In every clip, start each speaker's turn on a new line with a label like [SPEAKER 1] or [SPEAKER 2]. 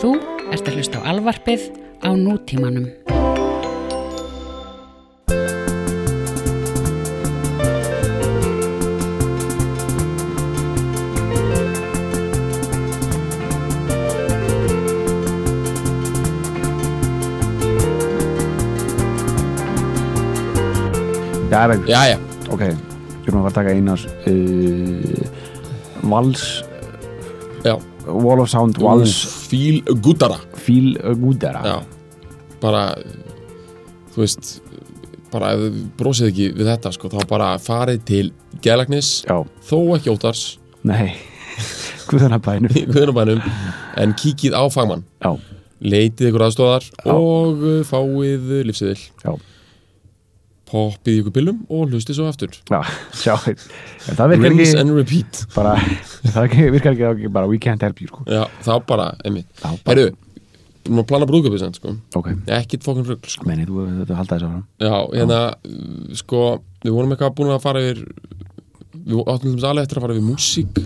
[SPEAKER 1] Þú ert að hlusta á alvarpið á nútímanum.
[SPEAKER 2] Já, ef ekki,
[SPEAKER 3] Jæja,
[SPEAKER 2] ok Við erum að fara að taka einas uh, Vals
[SPEAKER 3] já
[SPEAKER 2] Wall of Sound, Vals
[SPEAKER 3] Fíl gutara
[SPEAKER 2] Feel Gudera
[SPEAKER 3] Já, bara Þú veist bara ef þið brosið ekki við þetta sko, þá bara farið til gælagnis
[SPEAKER 2] Já,
[SPEAKER 3] þó ekki óttars
[SPEAKER 2] nei Guðana bænum
[SPEAKER 3] í guðnabænum en kíkið á fagmann
[SPEAKER 2] Já,
[SPEAKER 3] leitið ykkur aðstofar og uh, fáið lífsiðil
[SPEAKER 2] já,
[SPEAKER 3] poppið í ykkur pillum og hlustið svo aftur
[SPEAKER 2] já, sjá ef Það virkar
[SPEAKER 3] Rinse
[SPEAKER 2] ekki
[SPEAKER 3] and repeat
[SPEAKER 2] bara, ef Það ekki- virkar ekki, þá ekki bara We can't help you, sko
[SPEAKER 3] Já, þá bara, einmitt
[SPEAKER 2] Já, bara,
[SPEAKER 3] Herru, við erum að plana brúðköpið sem sko
[SPEAKER 2] ok
[SPEAKER 3] ekkit fokkun rugl sko
[SPEAKER 2] Meni, þú þú- þú halda þessu áfram
[SPEAKER 3] Já, hérna, uh, sko, við vorum eitthvað búin að fara yfir Við áttum þess aðlega eftir að fara yfir músík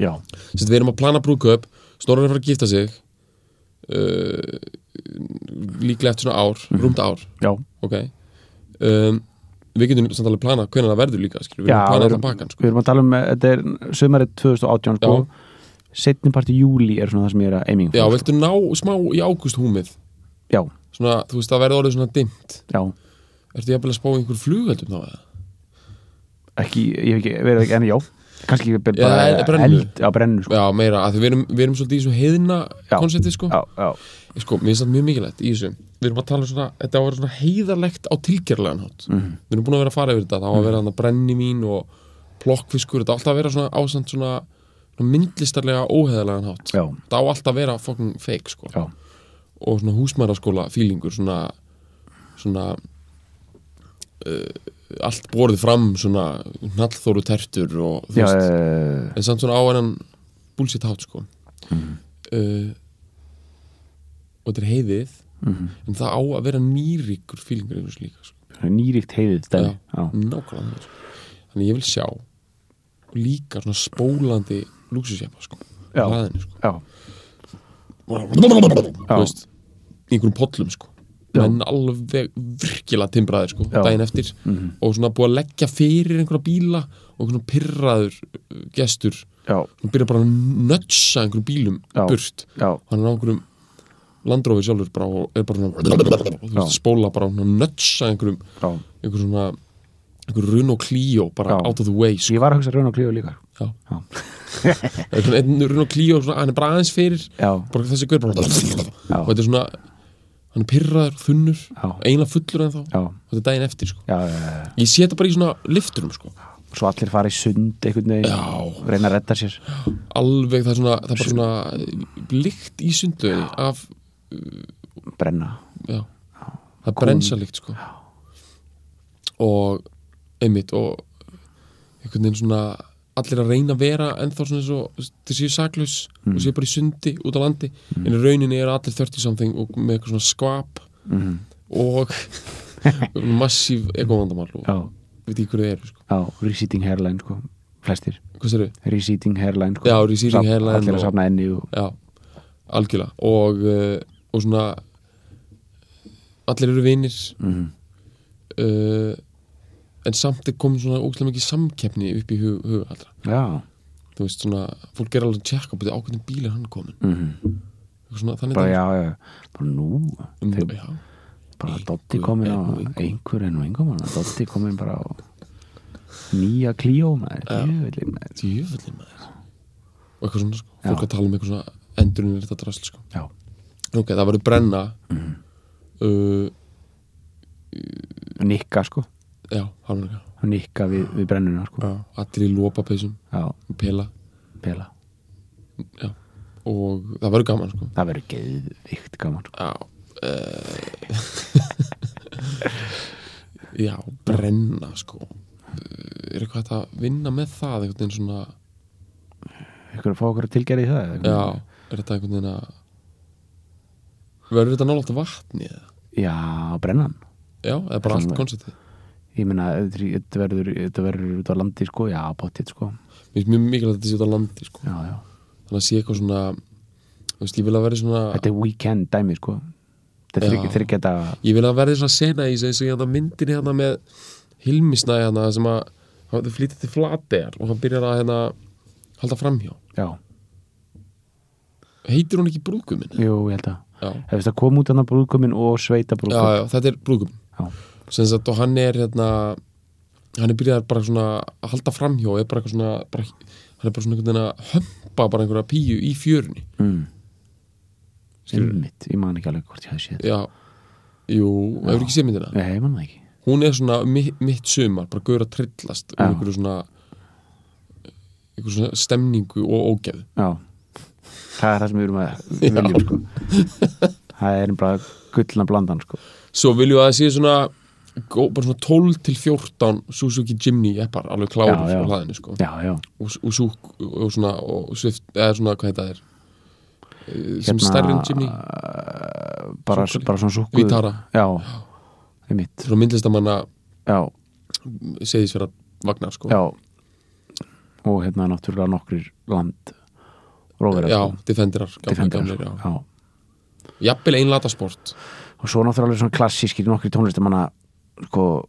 [SPEAKER 2] Já,
[SPEAKER 3] Sett við erum að plana brúðköp Snorri er að fara að gifta sig uh, Líklega eftir svona ár,
[SPEAKER 2] Mhm.
[SPEAKER 3] rúmt ár
[SPEAKER 2] já,
[SPEAKER 3] Ok um, Við getum samt alveg plana hvernig það verður líka skilur. Við
[SPEAKER 2] já
[SPEAKER 3] erum að
[SPEAKER 2] við,
[SPEAKER 3] plana
[SPEAKER 2] erum,
[SPEAKER 3] þetta bakkan
[SPEAKER 2] við
[SPEAKER 3] sko.
[SPEAKER 2] erum að tala um, eh, þetta er sömarið 2018, sko
[SPEAKER 3] Já.
[SPEAKER 2] Setni parti júli er svona það sem ég er að aiming
[SPEAKER 3] Já,
[SPEAKER 2] for, sko.
[SPEAKER 3] viltu ná smá í águst húmið
[SPEAKER 2] já,
[SPEAKER 3] Svona, þú veist, það verður orðið svona dimmt
[SPEAKER 2] já
[SPEAKER 3] Ertu jafnvel að spá í einhver flugöldum þá eða?
[SPEAKER 2] ekki, ég hef ekki verið ekki, en já kannski bara
[SPEAKER 3] Já, eh, brennu.
[SPEAKER 2] eld að brennu sko.
[SPEAKER 3] Já, meira, að því við erum, við erum svolítið í þessu heiðina
[SPEAKER 2] Já.
[SPEAKER 3] konsepti, sko
[SPEAKER 2] já, já,
[SPEAKER 3] Sko, mér finnst það mjög mikilvægt í þessu Við erum að tala um svona, þetta á að vera svona heiðarlegt á tilgerlegan hátt
[SPEAKER 2] Mhm.
[SPEAKER 3] Við erum búin að vera að fara yfir þetta, það á að vera hann að brenni mín og plokkfiskur, þetta á alltaf að vera svona ásand svona, svona myndlistarlega óheðarlegan hátt
[SPEAKER 2] já,
[SPEAKER 3] Það á alltaf að vera fucking fake, sko
[SPEAKER 2] já,
[SPEAKER 3] Og svona húsmæraskóla fílingur, svona svona uh, allt borðið fram, svona hnallþóru tertur og þú
[SPEAKER 2] já
[SPEAKER 3] veist,
[SPEAKER 2] eh,
[SPEAKER 3] en samt svona á hennan bullshit hát sko
[SPEAKER 2] Mhm.
[SPEAKER 3] uh, og þetta er heiðið
[SPEAKER 2] Mhm.
[SPEAKER 3] en það á að vera nýríkur fílingur einhvers líka sko.
[SPEAKER 2] nýrikt heiðið dæmi, já,
[SPEAKER 3] nákvæmlega þannig, sko. þannig ég vil sjá líka svona spólandi lúksusjæpa sko
[SPEAKER 2] Já.
[SPEAKER 3] Hlaðinu, sko.
[SPEAKER 2] já, Já.
[SPEAKER 3] Þú veist, í einhverjum pollum sko
[SPEAKER 2] Já.
[SPEAKER 3] menn alveg virkilega timbraðir sko,
[SPEAKER 2] Já. Mhm.
[SPEAKER 3] daginn eftir og svona búið að leggja fyrir einhverja bíla og einhverjum pyrraður uh, gestur
[SPEAKER 2] já,
[SPEAKER 3] hann byrjar bara að nötsa einhverjum bílum
[SPEAKER 2] Já.
[SPEAKER 3] burt
[SPEAKER 2] já,
[SPEAKER 3] hann er á einhverjum landrófi sjálfur bara og er bara svona þú veist, spóla bara og nötsa einhverjum
[SPEAKER 2] já
[SPEAKER 3] einhverjum svona einhverjum run og klíó bara
[SPEAKER 2] Já.
[SPEAKER 3] out of the way sko.
[SPEAKER 2] ég var að hugsa raun og klíu líka
[SPEAKER 3] já.
[SPEAKER 2] Já.
[SPEAKER 3] einhvern einn run og klíó svona, hann er bara aðeins fyrir
[SPEAKER 2] já,
[SPEAKER 3] bara þessi gaur bara
[SPEAKER 2] Já.
[SPEAKER 3] og þetta er svona hann er pyrraður, þunnur,
[SPEAKER 2] já,
[SPEAKER 3] eiginlega fullur en þá
[SPEAKER 2] já,
[SPEAKER 3] og þetta er daginn eftir sko.
[SPEAKER 2] já, já
[SPEAKER 3] ég sé þetta bara í svona lifturum sko.
[SPEAKER 2] svo allir fara í sund einhvern veginn,
[SPEAKER 3] já,
[SPEAKER 2] reyna að redda sér
[SPEAKER 3] alveg það er svona það er bara svona líkt í sunduðinni af
[SPEAKER 2] brenna,
[SPEAKER 3] já, það brennsa líkt sko og einmitt og einhvern veginn svona allir að reyna að vera ennþá svona svo þeir séu saklaus og séu bara í sundi út á landi en í rauninni eru allir 30 something og með eitthvað svona skvap
[SPEAKER 2] Mhm.
[SPEAKER 3] og massíf egovandamál og
[SPEAKER 2] já,
[SPEAKER 3] við því hverju þið eru sko.
[SPEAKER 2] já, reseating hairline sko, flestir,
[SPEAKER 3] hvað sér
[SPEAKER 2] reseating hairline sko
[SPEAKER 3] Já, receding
[SPEAKER 2] Safn-
[SPEAKER 3] hairline
[SPEAKER 2] allir að
[SPEAKER 3] og-
[SPEAKER 2] safna enni og,
[SPEAKER 3] Já, algjörlega og, uh, og svona allir eru vinir
[SPEAKER 2] Mhm.
[SPEAKER 3] uh, en samt er komin svona ógæslega mikið samkeppni upp í hug, hug allra
[SPEAKER 2] já,
[SPEAKER 3] þú veist svona, fólk er alveg að tjekka byrja, á hvernig bíl er hann komin
[SPEAKER 2] mhm
[SPEAKER 3] Eitthvað svona, þannig
[SPEAKER 2] bara
[SPEAKER 3] dæmi.
[SPEAKER 2] já, já, bara nú
[SPEAKER 3] Um,
[SPEAKER 2] þegar
[SPEAKER 3] já,
[SPEAKER 2] bara Dotti komin á einhver en og einhver mann Dotti komin bara á nýja klíó maður, jöfullinn, maður.
[SPEAKER 3] djöfullin maður og eitthvað svona, sko.
[SPEAKER 2] Já.
[SPEAKER 3] fólk að tala um eitthvað svona endurinn er þetta drasl sko.
[SPEAKER 2] já,
[SPEAKER 3] ok, það verður brenna
[SPEAKER 2] Mhm.
[SPEAKER 3] uh,
[SPEAKER 2] nikka sko
[SPEAKER 3] já, hálfleika
[SPEAKER 2] nikka við, við brennuna sko
[SPEAKER 3] já. allir í lópapeysum,
[SPEAKER 2] já,
[SPEAKER 3] pela
[SPEAKER 2] pela,
[SPEAKER 3] já. og það verður gaman sko.
[SPEAKER 2] það verður geðvikt gaman sko.
[SPEAKER 3] Já uh, Já, brenna sko Eh, Er eitthvað hægt að vinna með það einhvern veginn svona
[SPEAKER 2] ykkur að fá okkur að tilgerði í það eða eitthvað?
[SPEAKER 3] Já, er þetta einhvern veginn að Verður þetta nálægt vatni eða?
[SPEAKER 2] já, brennan
[SPEAKER 3] Já, eða bara allt
[SPEAKER 2] Svona-
[SPEAKER 3] konceptið
[SPEAKER 2] ég meina, þetta þetta verður þetta verður út á landi sko, já, bóttið sko
[SPEAKER 3] Mér finnst mjög mikilvægt að þetta sé út á landi sko
[SPEAKER 2] já, já,
[SPEAKER 3] Þannig að sé eitthvað svona Þú veist, ég vil að verði svona
[SPEAKER 2] þetta er weekend dæmi sko þetta er
[SPEAKER 3] Já.
[SPEAKER 2] þryggja- þryggja daga
[SPEAKER 3] ég vil að verði svona sena í þessu eins og ég hann myndin hérna með Hilmisnæði hérna sem að hann þau flýta til flategar og hann byrjar að hérna halda framhjá
[SPEAKER 2] já,
[SPEAKER 3] heitir hún ekki brúðgumin?
[SPEAKER 2] jú, ég held að
[SPEAKER 3] Já,
[SPEAKER 2] það veist að koma út annar brúðkumin og sveita
[SPEAKER 3] já,
[SPEAKER 2] brúðkumin
[SPEAKER 3] já, þetta er brúðgumin
[SPEAKER 2] já.
[SPEAKER 3] sem sagt og hann er hérna hann er byrjað bara svona að halda framhjó er bara eitthvað svona bara, hann er bara svona einhvern veginn að hömpa bara einhverja píu í fjörunni
[SPEAKER 2] Mm.
[SPEAKER 3] Skilurðu?
[SPEAKER 2] Einmitt, ég man ekki alveg hvort ég hafði séð
[SPEAKER 3] já, jú, hefur ekki séð myndina
[SPEAKER 2] þetta ég man það ekki
[SPEAKER 3] hún er svona mi- mitt sumar bara gaur að trillast um
[SPEAKER 2] Já.
[SPEAKER 3] einhverju svona einhverju svona stemningu og ógeð
[SPEAKER 2] já. það er það sem við erum að viljum sko. það er bara gullna blandan sko.
[SPEAKER 3] svo viljum við að það sé svona gó- bara svona 12 til 14 Suzuki Jimny eppar alveg
[SPEAKER 2] Já,
[SPEAKER 3] klárir
[SPEAKER 2] já.
[SPEAKER 3] á hlaðinu sko
[SPEAKER 2] já, já,
[SPEAKER 3] og, og súk og svona og svift, eða svona hvað þetta er Eh, sem
[SPEAKER 2] Hérna,
[SPEAKER 3] stærri en Jimny
[SPEAKER 2] bara,
[SPEAKER 3] Súkkulaði.
[SPEAKER 2] bara svona súkku
[SPEAKER 3] Vítara
[SPEAKER 2] já, einmitt
[SPEAKER 3] frá myndlistamanna
[SPEAKER 2] já,
[SPEAKER 3] segðis fyrir að vagna sko.
[SPEAKER 2] já og hérna náttúrulega nokkrir land róverar
[SPEAKER 3] já
[SPEAKER 2] sko.
[SPEAKER 3] defenderar, gamlega
[SPEAKER 2] Defender,
[SPEAKER 3] gamlega já.
[SPEAKER 2] já.
[SPEAKER 3] jafnvel ein latasport
[SPEAKER 2] og svo náttúrulega alveg svona klassískir nokkri tónlistamanna sko,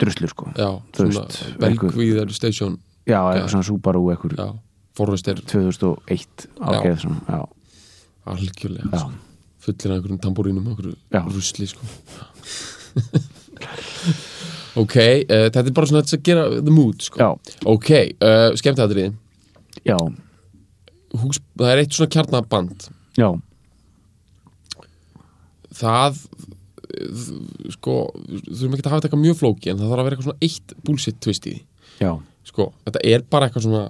[SPEAKER 2] druslur sko
[SPEAKER 3] já,
[SPEAKER 2] Þú
[SPEAKER 3] svona
[SPEAKER 2] veist,
[SPEAKER 3] velgvíðar station,
[SPEAKER 2] já, eitthvað svona Subaru ekkur
[SPEAKER 3] já, forrest er
[SPEAKER 2] 2001 ágeð svona, já,
[SPEAKER 3] algjörlega
[SPEAKER 2] já,
[SPEAKER 3] sko. fullir af einhverjum tambúrínum og
[SPEAKER 2] Já.
[SPEAKER 3] einhverju rusli sko. ok, uh, þetta er bara svona þetta að gera the mood sko.
[SPEAKER 2] já,
[SPEAKER 3] ok, uh, skemmt aðrið
[SPEAKER 2] já,
[SPEAKER 3] það er eitt svona kjarnaband
[SPEAKER 2] já,
[SPEAKER 3] það eh, sko, þurfum ekki að hafa þetta eitthvað mjög flóki en það þarf að vera eitthvað svona eitt bullshit twist í því
[SPEAKER 2] já,
[SPEAKER 3] sko, þetta er bara eitthvað svona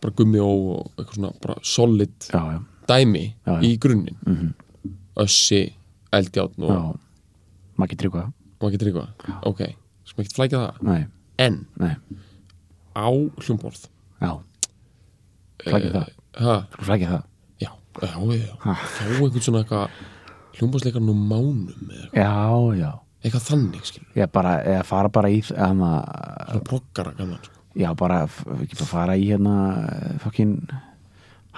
[SPEAKER 3] bara gummi og og eitthvað svona bara solid
[SPEAKER 2] já, já,
[SPEAKER 3] dæmi
[SPEAKER 2] Já, já.
[SPEAKER 3] í grunninn össi, eldjátt
[SPEAKER 2] já.
[SPEAKER 3] og
[SPEAKER 2] maður getur ykkur
[SPEAKER 3] maður getur eitthvað ok, sko maður getur flækja það
[SPEAKER 2] nei,
[SPEAKER 3] en
[SPEAKER 2] nei,
[SPEAKER 3] á hljómborð
[SPEAKER 2] já
[SPEAKER 3] Eh,
[SPEAKER 2] flækja það,
[SPEAKER 3] ha,
[SPEAKER 2] sko flækja það
[SPEAKER 3] já, já, já þá einhvern svona eitthvað hljómborðsleikarinn og mánum eða eitthvað,
[SPEAKER 2] já, já,
[SPEAKER 3] eitthvað þannig skilur,
[SPEAKER 2] ég bara eða fara bara í hana,
[SPEAKER 3] svona proggara gaman sko.
[SPEAKER 2] Já, bara, f- ekki bara fara í hérna fokkin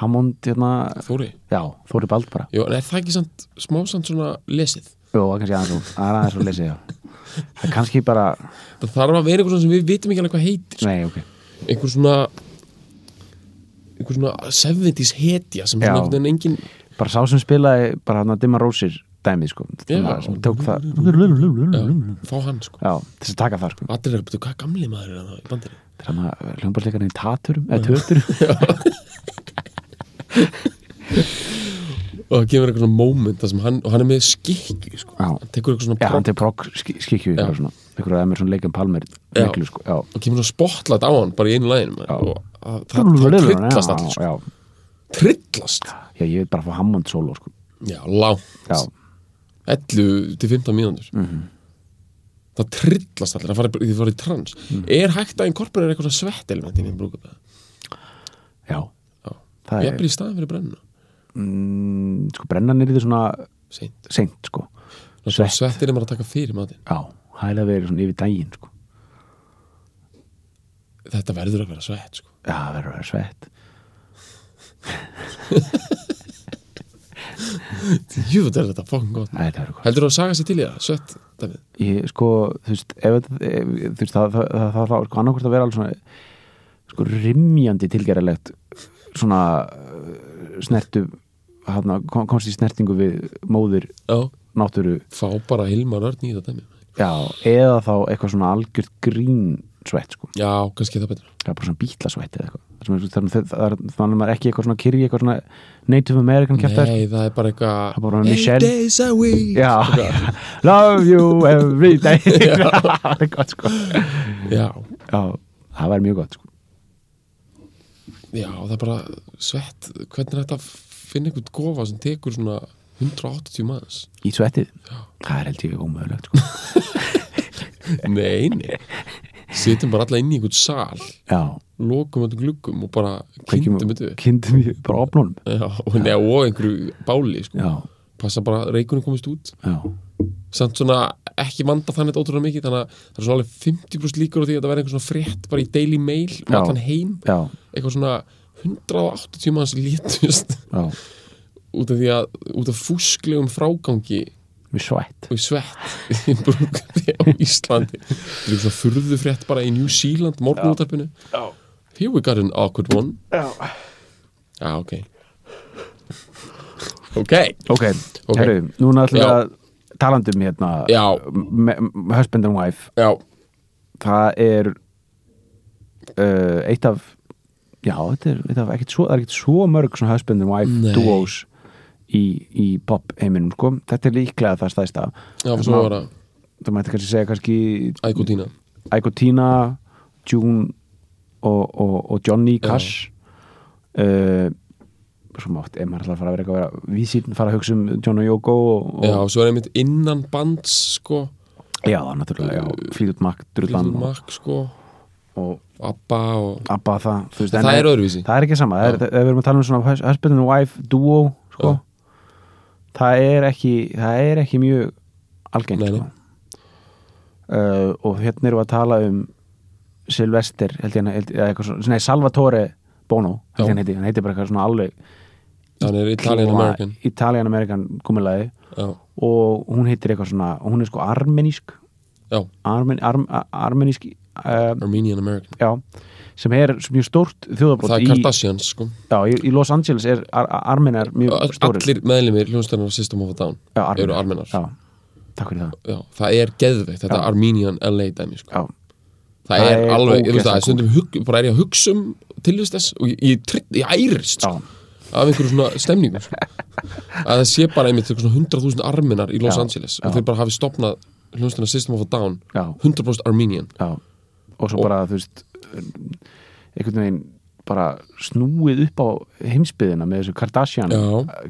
[SPEAKER 2] Hammond hérna,
[SPEAKER 3] Þóri,
[SPEAKER 2] já, Þóri Bald bara
[SPEAKER 3] Jó, en er það ekki samt, smá samt svona lesið?
[SPEAKER 2] Jó, það er kannski aðeins og, það er aðeins og lesið, já Það er kannski bara,
[SPEAKER 3] Það þarf að vera eitthvað svona sem við vitum ekki alveg hvað heitir.
[SPEAKER 2] nei, ok
[SPEAKER 3] Einhver svona, einhver svona 70s hetja sem
[SPEAKER 2] Já.
[SPEAKER 3] svona einhvern veginn engin,
[SPEAKER 2] Bara sá sem spilaði, bara hann að dimma rósir dæmið, sko
[SPEAKER 3] Já.
[SPEAKER 2] sem Tók það,
[SPEAKER 3] já,
[SPEAKER 2] já,
[SPEAKER 3] fá hann sko.
[SPEAKER 2] til þess að taka það, sko
[SPEAKER 3] Allir er að betur hvað gamli maður er að það í bandinu.
[SPEAKER 2] Þannig að hljómbarsleikarinn í taturum, eða töturum
[SPEAKER 3] Og það kemur eitthvað svona moment þar sem hann, og hann er með skikki sko.
[SPEAKER 2] Já.
[SPEAKER 3] Hann tekur eitthvað svona
[SPEAKER 2] Já, hann
[SPEAKER 3] prop
[SPEAKER 2] til progg skikju, eitthvað svona Eitthvað að Emerson Leikan Palmer,
[SPEAKER 3] Já.
[SPEAKER 2] miklu, sko Já,
[SPEAKER 3] og kemur svona spotlight á hann bara í einu læginu maður.
[SPEAKER 2] Já.
[SPEAKER 3] Og að- það, það trillast allir sko.
[SPEAKER 2] Já,
[SPEAKER 3] Trillast.
[SPEAKER 2] já, ég vil bara fá Hammond solo, sko
[SPEAKER 3] Já, lágt.
[SPEAKER 2] Já, Mhm.
[SPEAKER 3] 11 til 15 mínútur það trillast allir það farið, þið farið í trans
[SPEAKER 2] Mhm.
[SPEAKER 3] er hægt að inkorporera eitthvað svona svett element inn í brúkup
[SPEAKER 2] já, það
[SPEAKER 3] ég
[SPEAKER 2] er
[SPEAKER 3] er í staðin fyrir brennu
[SPEAKER 2] mm, sko brennan er í því svona
[SPEAKER 3] seint
[SPEAKER 2] seint sko Svett.
[SPEAKER 3] svett. svett er maður að taka fyrir matinn
[SPEAKER 2] já, hægilega verið svona yfir daginn sko
[SPEAKER 3] þetta verður að vera svett sko.
[SPEAKER 2] já, það verður að vera svett
[SPEAKER 3] jú þetta er þetta fokkin gott
[SPEAKER 2] Æ, það verður gott.
[SPEAKER 3] heldur þú að saga sér til í það svett dæmið
[SPEAKER 2] ég sko, þú veist, ef, þetta- ef, þú veist það, það, það, það, það sko annarkvort að vera alveg svona sko rimjandi tilgerðilegt svona uh, snertu hana, kom, komst í snertingu við móðir
[SPEAKER 3] já
[SPEAKER 2] náttúru
[SPEAKER 3] fá bara Hilmar Örn í þetta dæmið
[SPEAKER 2] já, eða þá eitthvað svona algjört grín svett sko
[SPEAKER 3] já kannski er það betra
[SPEAKER 2] það er bara svona bítlasvætti eða eitthvað Það sem er- þannig að það er- þannig að maður er ekki eitthvað svona kyrfi eitthvað svona native american kjartar
[SPEAKER 3] nei það er bara eitthvað
[SPEAKER 2] Það er bara
[SPEAKER 3] eight
[SPEAKER 2] Michelle-
[SPEAKER 3] days a week
[SPEAKER 2] já, love you every day það er gott sko
[SPEAKER 3] já
[SPEAKER 2] já, það væri mjög gott sko
[SPEAKER 3] Já, það er bara svett hvernig er þetta að finna einhvern gofa sem tekur svona 180 manns
[SPEAKER 2] í svettið,
[SPEAKER 3] Já.
[SPEAKER 2] það er held ég ómögulegt sko.
[SPEAKER 3] Nei, nei Sittum bara alla inn í einhvern sal
[SPEAKER 2] já,
[SPEAKER 3] lokum öllum gluggum og bara
[SPEAKER 2] Kveikjum-
[SPEAKER 3] kindum þetta við
[SPEAKER 2] kindum í bara opnunum
[SPEAKER 3] Já, og, nei, og einhverju báli sko.
[SPEAKER 2] já,
[SPEAKER 3] passa bara að reikunum komist út
[SPEAKER 2] já,
[SPEAKER 3] samt svona ekki vanda þannig ótrúlega mikið þannig að það er svona alveg 50% líkur á því að það verði einhver svona frétt bara í Daily Mail um
[SPEAKER 2] Já.
[SPEAKER 3] allan heim,
[SPEAKER 2] já,
[SPEAKER 3] eitthvað svona 180 manns létust
[SPEAKER 2] já
[SPEAKER 3] út af því að út af fúsklegum frágangi
[SPEAKER 2] við svett
[SPEAKER 3] og í svett í brúkaði á Íslandi þetta er svona furðu frétt bara í New Zealand morgunútarpinu here we got an awkward one já, ok ok
[SPEAKER 2] ok,
[SPEAKER 3] Ok.
[SPEAKER 2] herru, núna ætlum við
[SPEAKER 3] Já.
[SPEAKER 2] að talandi um hérna
[SPEAKER 3] Já.
[SPEAKER 2] me- m- husband and wife
[SPEAKER 3] já,
[SPEAKER 2] það er uh, eitt af já, þetta er, þetta er ekkit svo, það er ekkit svo mörg svona husband and wife
[SPEAKER 3] Nei.
[SPEAKER 2] duos í, í pop heiminum sko. þetta er líklega það stæðsta
[SPEAKER 3] já, svo
[SPEAKER 2] Hérna,
[SPEAKER 3] var það
[SPEAKER 2] það mætti kannski segja kannski
[SPEAKER 3] Ægútína
[SPEAKER 2] Aiko Tina, June og, og, og Johnny Cash uh, svo mátt ef maður ætlar að fara að vera eitthvað að vera vísinn fara að hugsa um John og Yoko og, og,
[SPEAKER 3] já, svo er einmitt innan bands sko,
[SPEAKER 2] já, náttúrulega, já, Fleetwood Mac Drullan
[SPEAKER 3] Little
[SPEAKER 2] og,
[SPEAKER 3] Mac sko
[SPEAKER 2] og
[SPEAKER 3] Abba og
[SPEAKER 2] Abba það þú veist, en-
[SPEAKER 3] það er öðruvísi
[SPEAKER 2] það er ekki sama, það er,
[SPEAKER 3] Já.
[SPEAKER 2] það, við erum að tala um svona hus- husband and wife duo sko.
[SPEAKER 3] Já.
[SPEAKER 2] það er ekki það er ekki mjög algengt
[SPEAKER 3] Nei, nei.
[SPEAKER 2] sko. uh, og hérna erum við að tala um Sylvester held ég, hann- held, eða eitthvað svona, nei, Salvatore Bono held
[SPEAKER 3] Já.
[SPEAKER 2] ég hann heiti, hann heiti bara eitthvað svona alveg
[SPEAKER 3] hann er Italian American
[SPEAKER 2] Italian American gummilaði
[SPEAKER 3] já,
[SPEAKER 2] og hún heitir eitthvað svona og hún er sko armenísk
[SPEAKER 3] já,
[SPEAKER 2] armen, arm, a- armenísk uh,
[SPEAKER 3] Armenian American
[SPEAKER 2] já, sem er mjög stórt þjóðabótt
[SPEAKER 3] það er Kardashians sko
[SPEAKER 2] Já, í, í Los Angeles er ar ar- armenar mjög stórir
[SPEAKER 3] allir meðlumir hljónstæðanar System of a Down
[SPEAKER 2] Já, Armenar.
[SPEAKER 3] eru armenar
[SPEAKER 2] Já, takk fyrir það
[SPEAKER 3] Já, það er geðveikt, þetta
[SPEAKER 2] Já.
[SPEAKER 3] Armenian LA dæmi sko.
[SPEAKER 2] Já,
[SPEAKER 3] það,
[SPEAKER 2] Það
[SPEAKER 3] er,
[SPEAKER 2] er
[SPEAKER 3] alveg, ég veist
[SPEAKER 2] ógeðslega
[SPEAKER 3] það, stundum hug, bara er ég að hugsa um tilvist þess og ég, ég, tryll- ég ærist
[SPEAKER 2] já,
[SPEAKER 3] sko, af einhverju svona stemningu sko. að það sé bara einmitt eitthvað svona 100.000 armenar í Los
[SPEAKER 2] Já,
[SPEAKER 3] Angeles
[SPEAKER 2] já.
[SPEAKER 3] og þeir bara hafi stopnað hljónstæðanar System of a Down
[SPEAKER 2] já,
[SPEAKER 3] 100% Armenian
[SPEAKER 2] já Og svo bara, þú veist einhvern veginn bara snúið upp á heimsbyðina með þessu Kardashian
[SPEAKER 3] Já.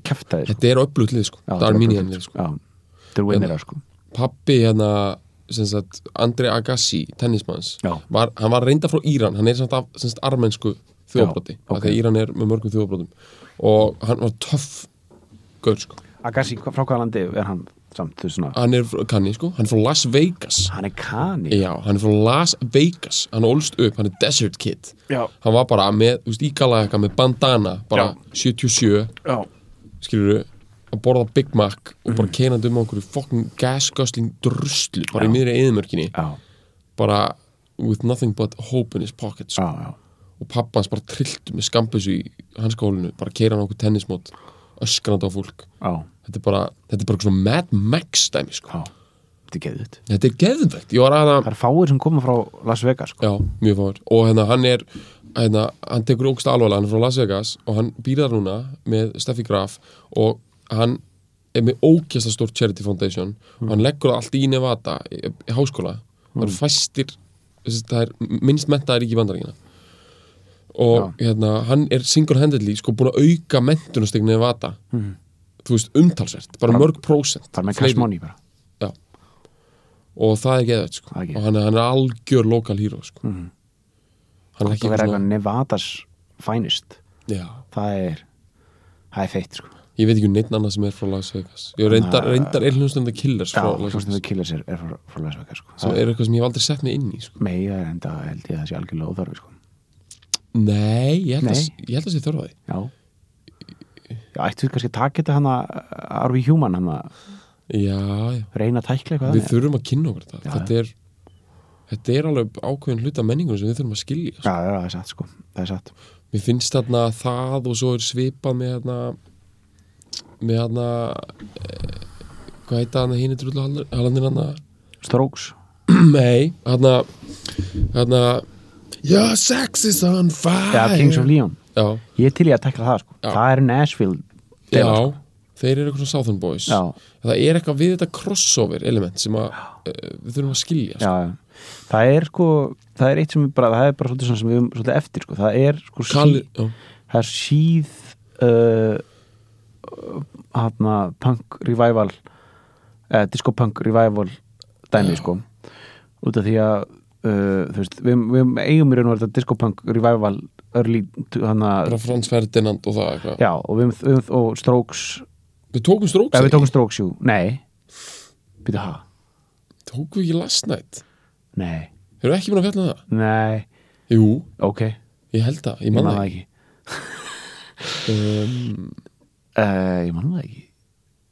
[SPEAKER 2] kæftæði
[SPEAKER 3] þetta er öflugt lið sko, þetta er Armenian lið sko. Hérna.
[SPEAKER 2] Já, þetta er winnerar sko
[SPEAKER 3] pappi hérna sem sagt, Andrei Agassi, tennismanns
[SPEAKER 2] Já.
[SPEAKER 3] var, hann var reynda frá Íran hann er samt af sem sagt, armensku þjóðbroti
[SPEAKER 2] Já, ok.
[SPEAKER 3] okay. þegar Íran er með mörgum þjóðbrotum og hann var töff gaur sko,
[SPEAKER 2] Agassi, hva- frá hvaða landi er hann samt, þú veist svona
[SPEAKER 3] hann er frá kanni sko hann er frá Las Vegas
[SPEAKER 2] Hann er kani
[SPEAKER 3] Já, hann er frá Las Vegas, hann ólst upp, hann er Desert Kid
[SPEAKER 2] Já,
[SPEAKER 3] hann var bara með, þú veist, ígalagaka með bandana bara 77
[SPEAKER 2] já,
[SPEAKER 3] skilur að borða Big Mac og bara keinandi um á einhverju fokkin gasgösling druslu bara í miðri
[SPEAKER 2] Mhm.
[SPEAKER 3] eðumörkinni
[SPEAKER 2] já,
[SPEAKER 3] bara with nothing but hope in his pockets
[SPEAKER 2] já, já.
[SPEAKER 3] og pappa hans bara trilltu með skambisu í hans skólinu, bara keira hann á okkur tennismót öskrandi á fólk
[SPEAKER 2] já,
[SPEAKER 3] þetta er bara, þetta er bara svona Mad Max dæmi sko.
[SPEAKER 2] já. Þetta er geðut
[SPEAKER 3] þetta er geðvegt, ég var að
[SPEAKER 2] Það er fáir sem koma frá Las Vegas sko
[SPEAKER 3] já, mjög fáir, og hérna hann er hérna, hann tekur ógst alvarlega, hann er frá Las Vegas og hann býrðar núna með Steffi Graf og hann er með ókjasta stórt Charity Foundation
[SPEAKER 2] Hmm.
[SPEAKER 3] og hann leggur það allt í Nevada í, í háskóla, það eru fæstir þessi, það er minnst mentaðar ekki í bandaríkina og hérna hann er single-handedly sko búin að auka mentunastegn Nevada þú veist, umtalsvert, bara mörg prósent
[SPEAKER 2] Það er með
[SPEAKER 3] Fleiri.
[SPEAKER 2] cash money Hmm. bara
[SPEAKER 3] Já. og það er geðvægt sko.
[SPEAKER 2] Það er geðveikt. Mhm.
[SPEAKER 3] og hann, hann er algjör lokal híró sko. hann er
[SPEAKER 2] Það
[SPEAKER 3] ekki
[SPEAKER 2] verður
[SPEAKER 3] eitthvað
[SPEAKER 2] eitthvað Nevadas finest
[SPEAKER 3] svona- Já.
[SPEAKER 2] það er það er feitt sko
[SPEAKER 3] ég veit ekki um neitt annað sem er frá Las Vegas ég reyndar, reyndar er hljóðstönda killers frá Las
[SPEAKER 2] hljóðstum
[SPEAKER 3] Vegas
[SPEAKER 2] þau killar sér er frá, frá Las Vegas sko.
[SPEAKER 3] sem
[SPEAKER 2] það
[SPEAKER 3] er eitthvað sem ég hef aldrei sett mig inn í sko.
[SPEAKER 2] meira er enda held ég að það sé algjörlega óþarfi sko
[SPEAKER 3] nei, ég held, Að,
[SPEAKER 2] Nei.
[SPEAKER 3] ég held að sé þörfaði
[SPEAKER 2] já já, ættu við kannski að taka þetta hann að Arvi Hjúman hann að
[SPEAKER 3] já, já.
[SPEAKER 2] reyna að tækla eitthvað
[SPEAKER 3] við
[SPEAKER 2] þannig?
[SPEAKER 3] þurfum að kynna okkur þetta
[SPEAKER 2] Já,
[SPEAKER 3] þetta er, þetta er alveg ákveðin hluta menningun sem við þurfum að skilja sko.
[SPEAKER 2] já, já, það er satt sko það er satt
[SPEAKER 3] mér finnst þarna það og svo er svipað með þarna með þarna eh, hvað heita þarna hinn er drullu halandir þarna
[SPEAKER 2] Strokes
[SPEAKER 3] nei, þarna þarna Your sex is on fire
[SPEAKER 2] já, Kings of Leon
[SPEAKER 3] já,
[SPEAKER 2] ég er til í að tækla það sko
[SPEAKER 3] Já.
[SPEAKER 2] það er Nashville
[SPEAKER 3] já,
[SPEAKER 2] dæla, sko.
[SPEAKER 3] þeir eru eitthvað svona Southern Boys
[SPEAKER 2] já,
[SPEAKER 3] það er eitthvað við þetta crossover element sem að, eh, við þurfum að skilja sko.
[SPEAKER 2] já, já það er sko það er eitt sem er bara það er bara svolítið svona sem við um svolítið eftir sko það er sko sí-
[SPEAKER 3] Kalli, já,
[SPEAKER 2] það er síð uh, hana, punk revival eh, disco punk revival dæmi sko út af því að uh, þú veist, við, við eigum í raun og veru þetta disco punk revival early hana,
[SPEAKER 3] bara Frans Ferdinand og það eitthvað
[SPEAKER 2] já, og, við, við, og strokes
[SPEAKER 3] við tókum
[SPEAKER 2] ja,
[SPEAKER 3] stróks
[SPEAKER 2] við tókum strokes jú, nei byrja ha,
[SPEAKER 3] tókum við ekki last night
[SPEAKER 2] nei,
[SPEAKER 3] erum við ekki búin að fjalla um það?
[SPEAKER 2] nei
[SPEAKER 3] jú,
[SPEAKER 2] ok,
[SPEAKER 3] ég held það, ég
[SPEAKER 2] ég man
[SPEAKER 3] manna það
[SPEAKER 2] það ekki
[SPEAKER 3] ekki um,
[SPEAKER 2] uh, ég manna það ekki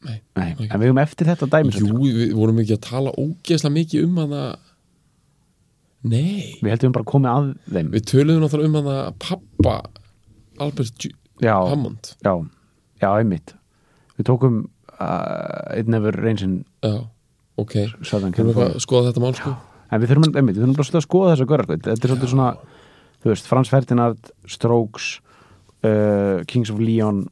[SPEAKER 3] Nei,
[SPEAKER 2] Nei,
[SPEAKER 3] Ok.
[SPEAKER 2] en við höfum eftir þetta dæmi
[SPEAKER 3] Jú,
[SPEAKER 2] svolítið.
[SPEAKER 3] við vorum ekki að tala ógeðslega mikið um hana Nei
[SPEAKER 2] við heldum bara að koma að þeim
[SPEAKER 3] Við töluðum náttúrulega um hana pappa Albert J
[SPEAKER 2] já,
[SPEAKER 3] Hammond
[SPEAKER 2] já, já, einmitt við tókum uh, einn efur reynsinn
[SPEAKER 3] Já, ok
[SPEAKER 2] Southern
[SPEAKER 3] Við erum eitthvað
[SPEAKER 2] California
[SPEAKER 3] að skoða þetta mál sko
[SPEAKER 2] en við þurfum, einmitt, við þurfum bara svolítið að skoða þess að göra þetta er svolítið svona, þú veist, Franz Ferdinand Strokes uh, Kings of Leon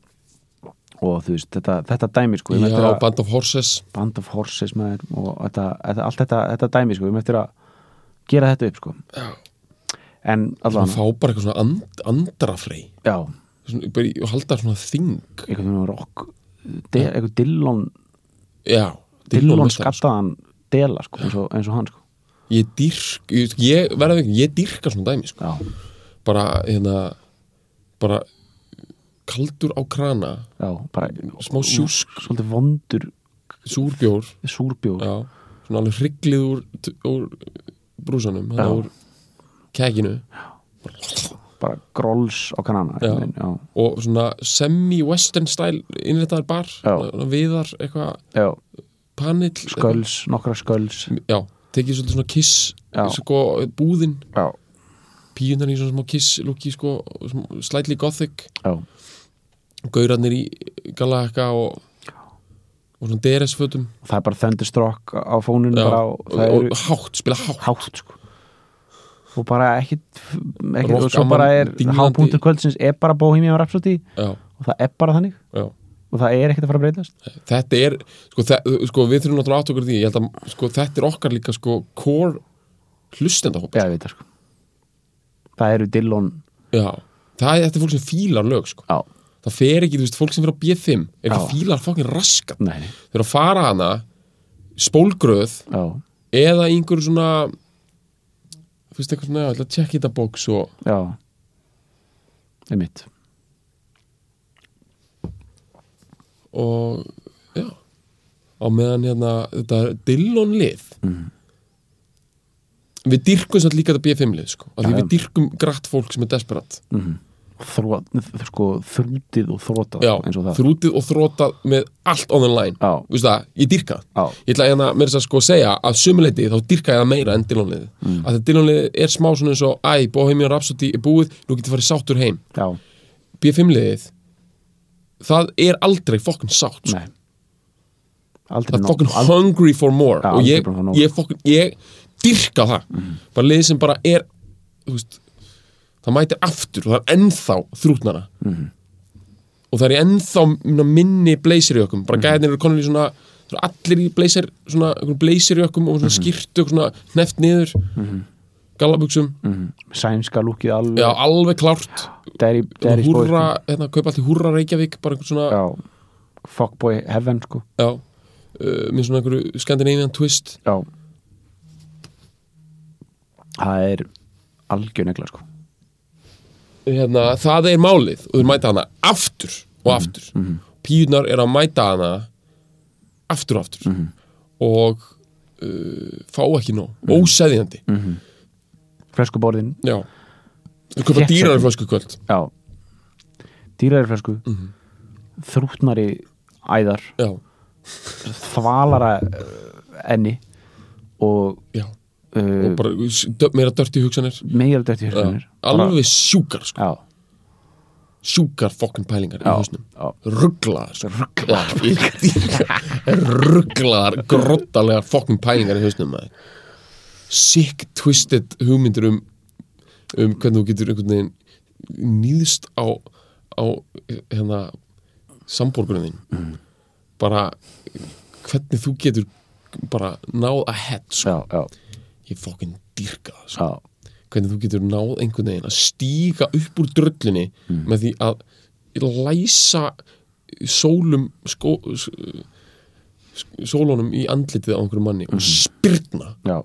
[SPEAKER 2] og þú veist, þetta, þetta dæmi sko, við höfum
[SPEAKER 3] Já,
[SPEAKER 2] eftir að-
[SPEAKER 3] Band of Horses
[SPEAKER 2] Band of Horses maður, og þetta, þetta, allt þetta, þetta dæmi sko, við höfum eftir að gera þetta upp sko.
[SPEAKER 3] Já.
[SPEAKER 2] en
[SPEAKER 3] Svona
[SPEAKER 2] allavega
[SPEAKER 3] fá bara eitthvað svona and, andrafrei
[SPEAKER 2] já,
[SPEAKER 3] svona, bara, í- og halda svona þing
[SPEAKER 2] einhvern veginn rock de, einhvern Dillon,
[SPEAKER 3] Já,
[SPEAKER 2] Dillon
[SPEAKER 3] meistari, sko.
[SPEAKER 2] skattaðan dela sko, eins, og, eins og hann sko.
[SPEAKER 3] Ég dyrk, ég, ég verða ekki Ég dyrka svona dæmi sko
[SPEAKER 2] já,
[SPEAKER 3] Bara, hérna Bara kaldur á krana
[SPEAKER 2] já, bara Mm,
[SPEAKER 3] Smá sjúsk,
[SPEAKER 2] svolítið vondur
[SPEAKER 3] súrbjór
[SPEAKER 2] súrbjór
[SPEAKER 3] Já, svona alveg hrygglið úr, úr brúsanum
[SPEAKER 2] Já.
[SPEAKER 3] þannig úr kekinu
[SPEAKER 2] bara gróls á kanana
[SPEAKER 3] Já.
[SPEAKER 2] einhvern veginn, já,
[SPEAKER 3] og svona semi-western style innréttaðar bar,
[SPEAKER 2] Já. Sko-
[SPEAKER 3] svona viðar eitthvað,
[SPEAKER 2] já,
[SPEAKER 3] panill eitthvað.
[SPEAKER 2] sköls, nokkra sköls
[SPEAKER 3] Já, tekið svolítið svona kiss
[SPEAKER 2] Já.
[SPEAKER 3] sko, búðin,
[SPEAKER 2] já,
[SPEAKER 3] píunar í svona smá kiss lúki, sko, smá- slightly gothic
[SPEAKER 2] já,
[SPEAKER 3] gaurarnir í galaka og, og svona DRS-fötum
[SPEAKER 2] það er bara thunderstruck á fónun bara, á-
[SPEAKER 3] og,
[SPEAKER 2] það
[SPEAKER 3] og
[SPEAKER 2] eru
[SPEAKER 3] hátt, spila hátt
[SPEAKER 2] hátt sko og bara ekkit, ekkit
[SPEAKER 3] Rock
[SPEAKER 2] og svo bara
[SPEAKER 3] gaman,
[SPEAKER 2] er
[SPEAKER 3] dinglandi.
[SPEAKER 2] hápunktur kvöldsins er bara Bohemian Rhapsody
[SPEAKER 3] Já,
[SPEAKER 2] og það er bara þannig
[SPEAKER 3] já
[SPEAKER 2] og það er ekkit að fara að breytast
[SPEAKER 3] þetta er, sko, þe sko við þurfum náttúrulega átt okkur á því, ég held að sko, þetta er okkar líka sko core hlustendahópa
[SPEAKER 2] Já, ég veit það sko það eru Dillon
[SPEAKER 3] Já. það er þetta er fólk sem fílar lög sko.
[SPEAKER 2] já,
[SPEAKER 3] það fer ekki, þú veist, fólk sem fer á B5 er ekki
[SPEAKER 2] Já.
[SPEAKER 3] fílar fokkin raskat
[SPEAKER 2] nei, nei,
[SPEAKER 3] þau eru að fara hana spólgröð
[SPEAKER 2] já,
[SPEAKER 3] eða einhver svona þú veist eitthvað svona, já, ég ætla að tjekka þetta bóks og
[SPEAKER 2] já er mitt
[SPEAKER 3] og já á meðan hérna þetta er Dillon lið
[SPEAKER 2] Mhm.
[SPEAKER 3] við dyrkum samt líka þetta B5 lið sko, af því
[SPEAKER 2] Já, já.
[SPEAKER 3] við dyrkum grætt fólk sem er desperat
[SPEAKER 2] Þró, sko, þrútið og þrótað
[SPEAKER 3] já,
[SPEAKER 2] eins og það
[SPEAKER 3] þrútið og þrótað með allt on the line
[SPEAKER 2] Já.
[SPEAKER 3] Veistu það, ég dyrka það.
[SPEAKER 2] Já.
[SPEAKER 3] ég ætla hérna mér þess að sko segja að sumuleiti þá dyrka ég það meira en Dillon lið mm. að það Dillon lið er smá svona eins og æ, Bohemian Rhapsody er búið, nú getur farið sáttur heim
[SPEAKER 2] já,
[SPEAKER 3] B5 liðið það er aldrei fokkn sátt sko.
[SPEAKER 2] nei aldrei
[SPEAKER 3] það er
[SPEAKER 2] nóg.
[SPEAKER 3] fokkin hungry for more Mhm.
[SPEAKER 2] Já,
[SPEAKER 3] og
[SPEAKER 2] aldrei
[SPEAKER 3] ég,
[SPEAKER 2] bara nóg.
[SPEAKER 3] ég, fokkin, ég dyrka það bara liðið sem bara er þú veist, það mætir aftur og það er ennþá þrútnara og það er í ennþá minna minni blazer í okkum, bara mm gæðinir eru konur í svona það eru allir í blazer svona einhverjum blazer í okkum og svona skýrtu og svona hneft niður mm gallabuxum,
[SPEAKER 2] Mhm. sænska lúkið alveg
[SPEAKER 3] já alveg klárt
[SPEAKER 2] Derry, Derry
[SPEAKER 3] húrra, hérna, kaupa allt í húrra Reykjavík bara einhvern svona, já,
[SPEAKER 2] já, fuckboy heaven sko
[SPEAKER 3] uh, með svona einhverju Scandinavian twist
[SPEAKER 2] Já Það er algjör negla sko
[SPEAKER 3] hérna, það er málið og þeir mæta hana aftur
[SPEAKER 2] Mhm.
[SPEAKER 3] og aftur mm píunar er að mæta hana aftur og aftur
[SPEAKER 2] Mhm.
[SPEAKER 3] og uh, fá ekki nóg, óseðjandi
[SPEAKER 2] Mhm. Flöskuborðin,
[SPEAKER 3] já, þau köpa
[SPEAKER 2] Rétt
[SPEAKER 3] dýrar í flösku kvöld
[SPEAKER 2] já Dýrari flösku
[SPEAKER 3] Mhm.
[SPEAKER 2] Þrútnari æðar
[SPEAKER 3] já,
[SPEAKER 2] Þvalara eh, enni Og
[SPEAKER 3] já,
[SPEAKER 2] uh,
[SPEAKER 3] og bara s- dö- meira dört í hugsanir
[SPEAKER 2] meira dætt í
[SPEAKER 3] Já.
[SPEAKER 2] hérskunir
[SPEAKER 3] alveg sjúkar, sko.
[SPEAKER 2] Já,
[SPEAKER 3] sjúkar fokkin pælingar í
[SPEAKER 2] já,
[SPEAKER 3] húsnum
[SPEAKER 2] já
[SPEAKER 3] rugglaðar sko. rugglaðar rugglaðar, grottalegar fokkin pælingar í hausnum maður. sick twisted hugmyndir um, um hvernig þú getur einhvern veginn nýðst á, á hérna samborgurinn þín bara hvernig þú getur bara náð að hett sko.
[SPEAKER 2] Já, já,
[SPEAKER 3] ég fokkin dýrka það sko.
[SPEAKER 2] já,
[SPEAKER 3] hvernig þú getur náð einhvern veginn að stíga upp úr dröllunni með því að læsa sólum sko, s- s- sólunum í andlitið á einhverjum manni og spyrna
[SPEAKER 2] já,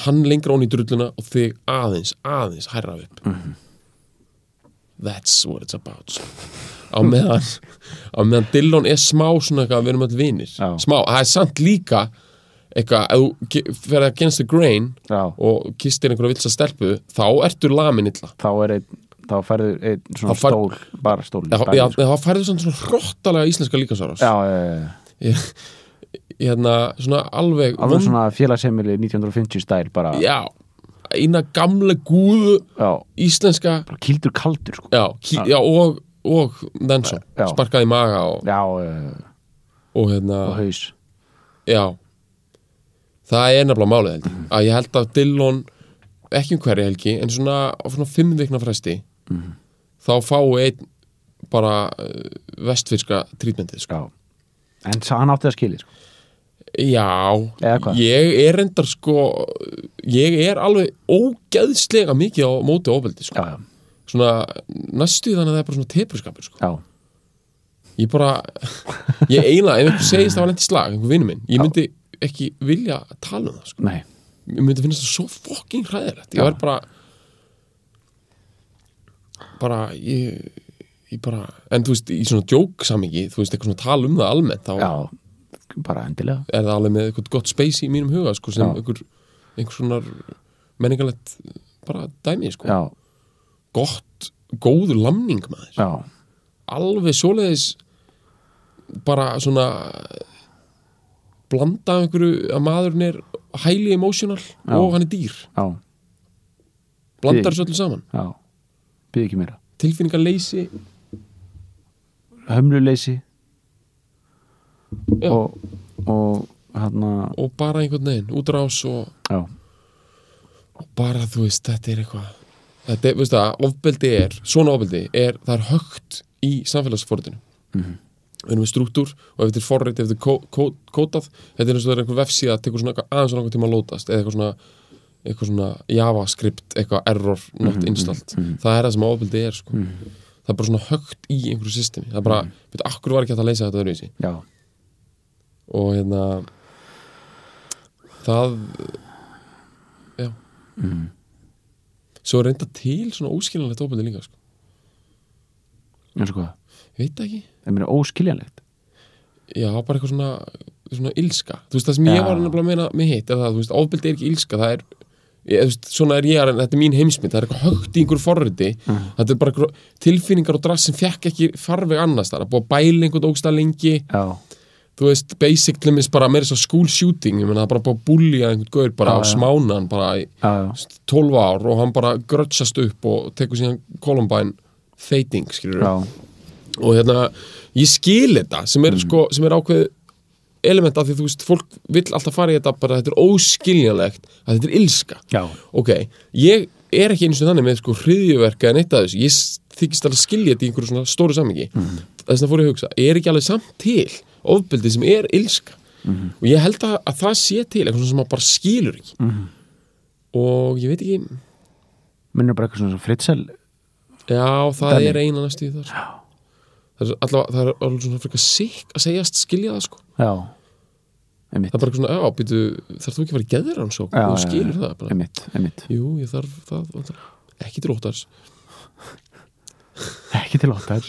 [SPEAKER 3] hann lengra ón í drulluna og þig aðeins, aðeins hærra upp that's what it's about sko. á meðan á meðan Dillon er smá svona eitthvað við erum allir vinir,
[SPEAKER 2] Já.
[SPEAKER 3] smá, það er samt líka eitthvað, ef þú ge- ferð against the grain
[SPEAKER 2] já
[SPEAKER 3] og kistir einhverja vilsa stelpu þá ertu lamin illa
[SPEAKER 2] Þá er einn þá færðu einn svona
[SPEAKER 3] Þá fær-
[SPEAKER 2] stól, bara stól í
[SPEAKER 3] Já,
[SPEAKER 2] bænum,
[SPEAKER 3] já,
[SPEAKER 2] sko.
[SPEAKER 3] það færðu samt svona hróttalega íslenska líkansárás
[SPEAKER 2] já, já, já, já.
[SPEAKER 3] ég, ég hérna svona alveg,
[SPEAKER 2] alveg svona félagsemili 1950 stæl bara,
[SPEAKER 3] já, eina gamla gúðu
[SPEAKER 2] já,
[SPEAKER 3] íslenska
[SPEAKER 2] bara kildur kaldur sko.
[SPEAKER 3] já, kí, já og, og Nensson,
[SPEAKER 2] Já.
[SPEAKER 3] sparkaði í maga og,
[SPEAKER 2] já, já, já,
[SPEAKER 3] og hérna
[SPEAKER 2] og haus
[SPEAKER 3] já, það er nefnilega málið held ég,
[SPEAKER 2] Mm.
[SPEAKER 3] að ég held að Dillon ekki um hverja helgi, en svona á svona fimm vikna fresti
[SPEAKER 2] Mm.
[SPEAKER 3] þá fái einn bara uh, vestfirska trítmyndið sko.
[SPEAKER 2] já. en sá hann átti það skilið sko.
[SPEAKER 3] Já,
[SPEAKER 2] Eða hvað?
[SPEAKER 3] ég er reyndar sko ég er alveg ógeðslega mikið á móti ofbeldi sko.
[SPEAKER 2] já, já,
[SPEAKER 3] svona næstu í þannig að það er bara svona tepurskapur sko.
[SPEAKER 2] já,
[SPEAKER 3] ég bara, ég eiginlega ef einhver segist það var lent í slag, einhver vinur minn ég myndi ekki vilja tala um það sko.
[SPEAKER 2] nei
[SPEAKER 3] ég myndi finnast það svo fokking hræðilegt
[SPEAKER 2] Já.
[SPEAKER 3] ég var bara bara ég, ég bara, en þú veist í svona djók samingi, þú veist eitthvað svona tala um það almennt, þá
[SPEAKER 2] já, bara endilega
[SPEAKER 3] er það alveg með eitthvað gott space í mínum huga sko, sem
[SPEAKER 2] Já.
[SPEAKER 3] einhver, einhver svona menningalegt bara dæmi sko.
[SPEAKER 2] já,
[SPEAKER 3] gott, góður lamning maður
[SPEAKER 2] já,
[SPEAKER 3] alveg svoleiðis bara svona blanda af einhverju að maðurinn er highly emotional
[SPEAKER 2] Já.
[SPEAKER 3] og hann er dýr
[SPEAKER 2] já,
[SPEAKER 3] blandar
[SPEAKER 2] Dýr.
[SPEAKER 3] þessu öllu saman,
[SPEAKER 2] já byrði ekki meira
[SPEAKER 3] tilfinningarleysi
[SPEAKER 2] hömluleysi
[SPEAKER 3] Já.
[SPEAKER 2] og, og hérna
[SPEAKER 3] og bara einhvern veginn, útrás og,
[SPEAKER 2] já,
[SPEAKER 3] og bara þú veist, þetta er eitthvað þetta er, veist það, ofbeldi er svona ofbeldi er, það er högt í samfélagsforðinu við erum með struktúr og ef þetta er forrið, ef þetta er kó, kó, kótað þetta er eins og það er einhver vefsíða það tekur svona eitthvað aðeins og langar tíma að lótast eða eitthvað svona, eitthvað svona javascript eitthvað error, not installed það er það sem ofbeldi er sko. það er bara svona högt í einhverju systemi það er bara, mm -hmm. veit, akkur var ekki hægt að leysa þetta öðruvísi
[SPEAKER 2] já,
[SPEAKER 3] og hérna það já
[SPEAKER 2] Mm.
[SPEAKER 3] svo er reynda til svona óskiljanlegt ofbeldi líka sko.
[SPEAKER 2] eins og hvað
[SPEAKER 3] ég veit það ekki,
[SPEAKER 2] það meina óskiljanlegt
[SPEAKER 3] já bara eitthvað svona svona ilska, þú veist það sem
[SPEAKER 2] Já.
[SPEAKER 3] ég var nefnilega að meina með hitt, er það, þú veist, ofbeldi er ekki ilska það er, ég, þú veist, svona er ég að reyna- þetta er mín heimsmynd, það er eitthvað högt í einhver forriti
[SPEAKER 2] Mm.
[SPEAKER 3] þetta er bara eitthvað tilfinningar og drass sem fekk ekki farveg annars það er að búa að bæla einhvern ógsta lengi
[SPEAKER 2] já,
[SPEAKER 3] þú veist, basic limits bara meira svo school shooting, ég menna það er bara búið að búlja einhvern gaur bara
[SPEAKER 2] Já,
[SPEAKER 3] á
[SPEAKER 2] já.
[SPEAKER 3] smánan bara í
[SPEAKER 2] já, já,
[SPEAKER 3] 12 ár og hann bara grötsast upp og tekur síðan Columbine feiting, skilur
[SPEAKER 2] já,
[SPEAKER 3] og hérna, ég skil þetta sem er, sko, sem er ákveð element af því þú veist, fólk vill alltaf fara í þetta bara þetta er óskiljanlegt að þetta er ilska
[SPEAKER 2] já,
[SPEAKER 3] ok, ég er ekki eins og þannig með sko hriðjuverka en eitt af þessu, ég s- þykist alveg skilja þetta í einhverju svona stóru samhengi þess að fór ég að hugsa, er ekki alveg samt til ofbeldi sem er ilska og ég held að, að það sé til eitthvað svona sem maður bara skilur ekki og ég veit ekki
[SPEAKER 2] minnur bara eitthvað svona svo fritsel
[SPEAKER 3] já, það
[SPEAKER 2] Dæmi.
[SPEAKER 3] er eina næstu í það sko. það er allavega, það er alveg svona frekar sikk að segjast skilja það sko
[SPEAKER 2] já, einmitt
[SPEAKER 3] það er bara eitthvað svona, já, býtu, þarf þú ekki að fara í geðran svo,
[SPEAKER 2] Já,
[SPEAKER 3] þú
[SPEAKER 2] já,
[SPEAKER 3] skilur
[SPEAKER 2] já.
[SPEAKER 3] það bara
[SPEAKER 2] einmitt, einmitt,
[SPEAKER 3] jú, ég þarf það, vantar- ekki til óttars
[SPEAKER 2] ekki til óttar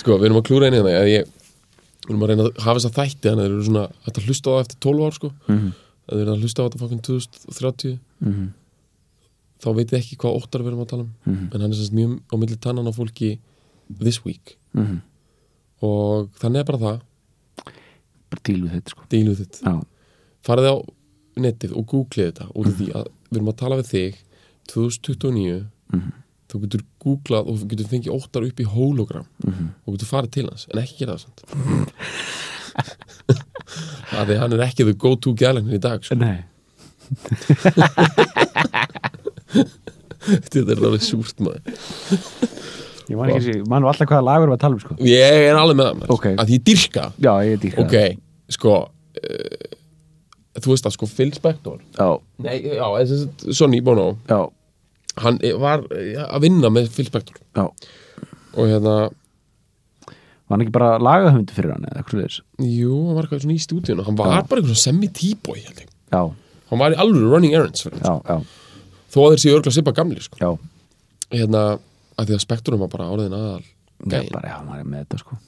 [SPEAKER 3] Sko, við erum að klúra einu þannig að ég við erum að reyna að hafa þess að þætti þannig að þeir eru svona hægt að hlusta á það eftir 12 ár sko
[SPEAKER 2] Mhm.
[SPEAKER 3] að þeir eru að hlusta á þetta fokkinn 2030
[SPEAKER 2] Mhm.
[SPEAKER 3] þá veit ég ekki hvað óttar við erum að tala um en hann er semst mjög á milli tannan á fólki this week
[SPEAKER 2] Mhm.
[SPEAKER 3] og þannig er bara það,
[SPEAKER 2] bara díl við þetta sko
[SPEAKER 3] díluð þitt
[SPEAKER 2] já,
[SPEAKER 3] farið á netið og googlið þetta út af því
[SPEAKER 2] Mhm.
[SPEAKER 3] að við erum að tala við þig 2029
[SPEAKER 2] Mhm.
[SPEAKER 3] þú getur googlað og þú getur fengið óttar upp í hologram
[SPEAKER 2] Mhm.
[SPEAKER 3] og getur farið til hans en ekki gera það samt að því hann er ekki the go to gælegnin í dag sko.
[SPEAKER 2] nei,
[SPEAKER 3] þetta er alveg súrt maður
[SPEAKER 2] ég man ekki sér mann var alltaf hvaða lagur var að tala um sko
[SPEAKER 3] ég er alveg með það maður
[SPEAKER 2] Ok.
[SPEAKER 3] að ég dyrka
[SPEAKER 2] já, ég er dýrka
[SPEAKER 3] ok, sko uh, þú veist að sko Phil Spector
[SPEAKER 2] já,
[SPEAKER 3] Nei, já, þessi, Sonny Bono
[SPEAKER 2] já,
[SPEAKER 3] hann eh, var eh, að vinna með Phil Spector
[SPEAKER 2] já
[SPEAKER 3] og hérna
[SPEAKER 2] var hann ekki bara lagahöfundu fyrir hann eða eitthvað sliðis
[SPEAKER 3] Jú, hann var eitthvað svona í stúdíunum Hann var
[SPEAKER 2] Já.
[SPEAKER 3] bara einhvern semi-tíboi held ég
[SPEAKER 2] já,
[SPEAKER 3] Hann var í alveg running errands fyrir hann.
[SPEAKER 2] já, já,
[SPEAKER 3] Þó að þeir séu örgla sippa gamli sko.
[SPEAKER 2] já
[SPEAKER 3] Hérna, að því að spektrum var bara áriðin aðal
[SPEAKER 2] Já,
[SPEAKER 3] Gæin,
[SPEAKER 2] bara, já, maður er með þetta sko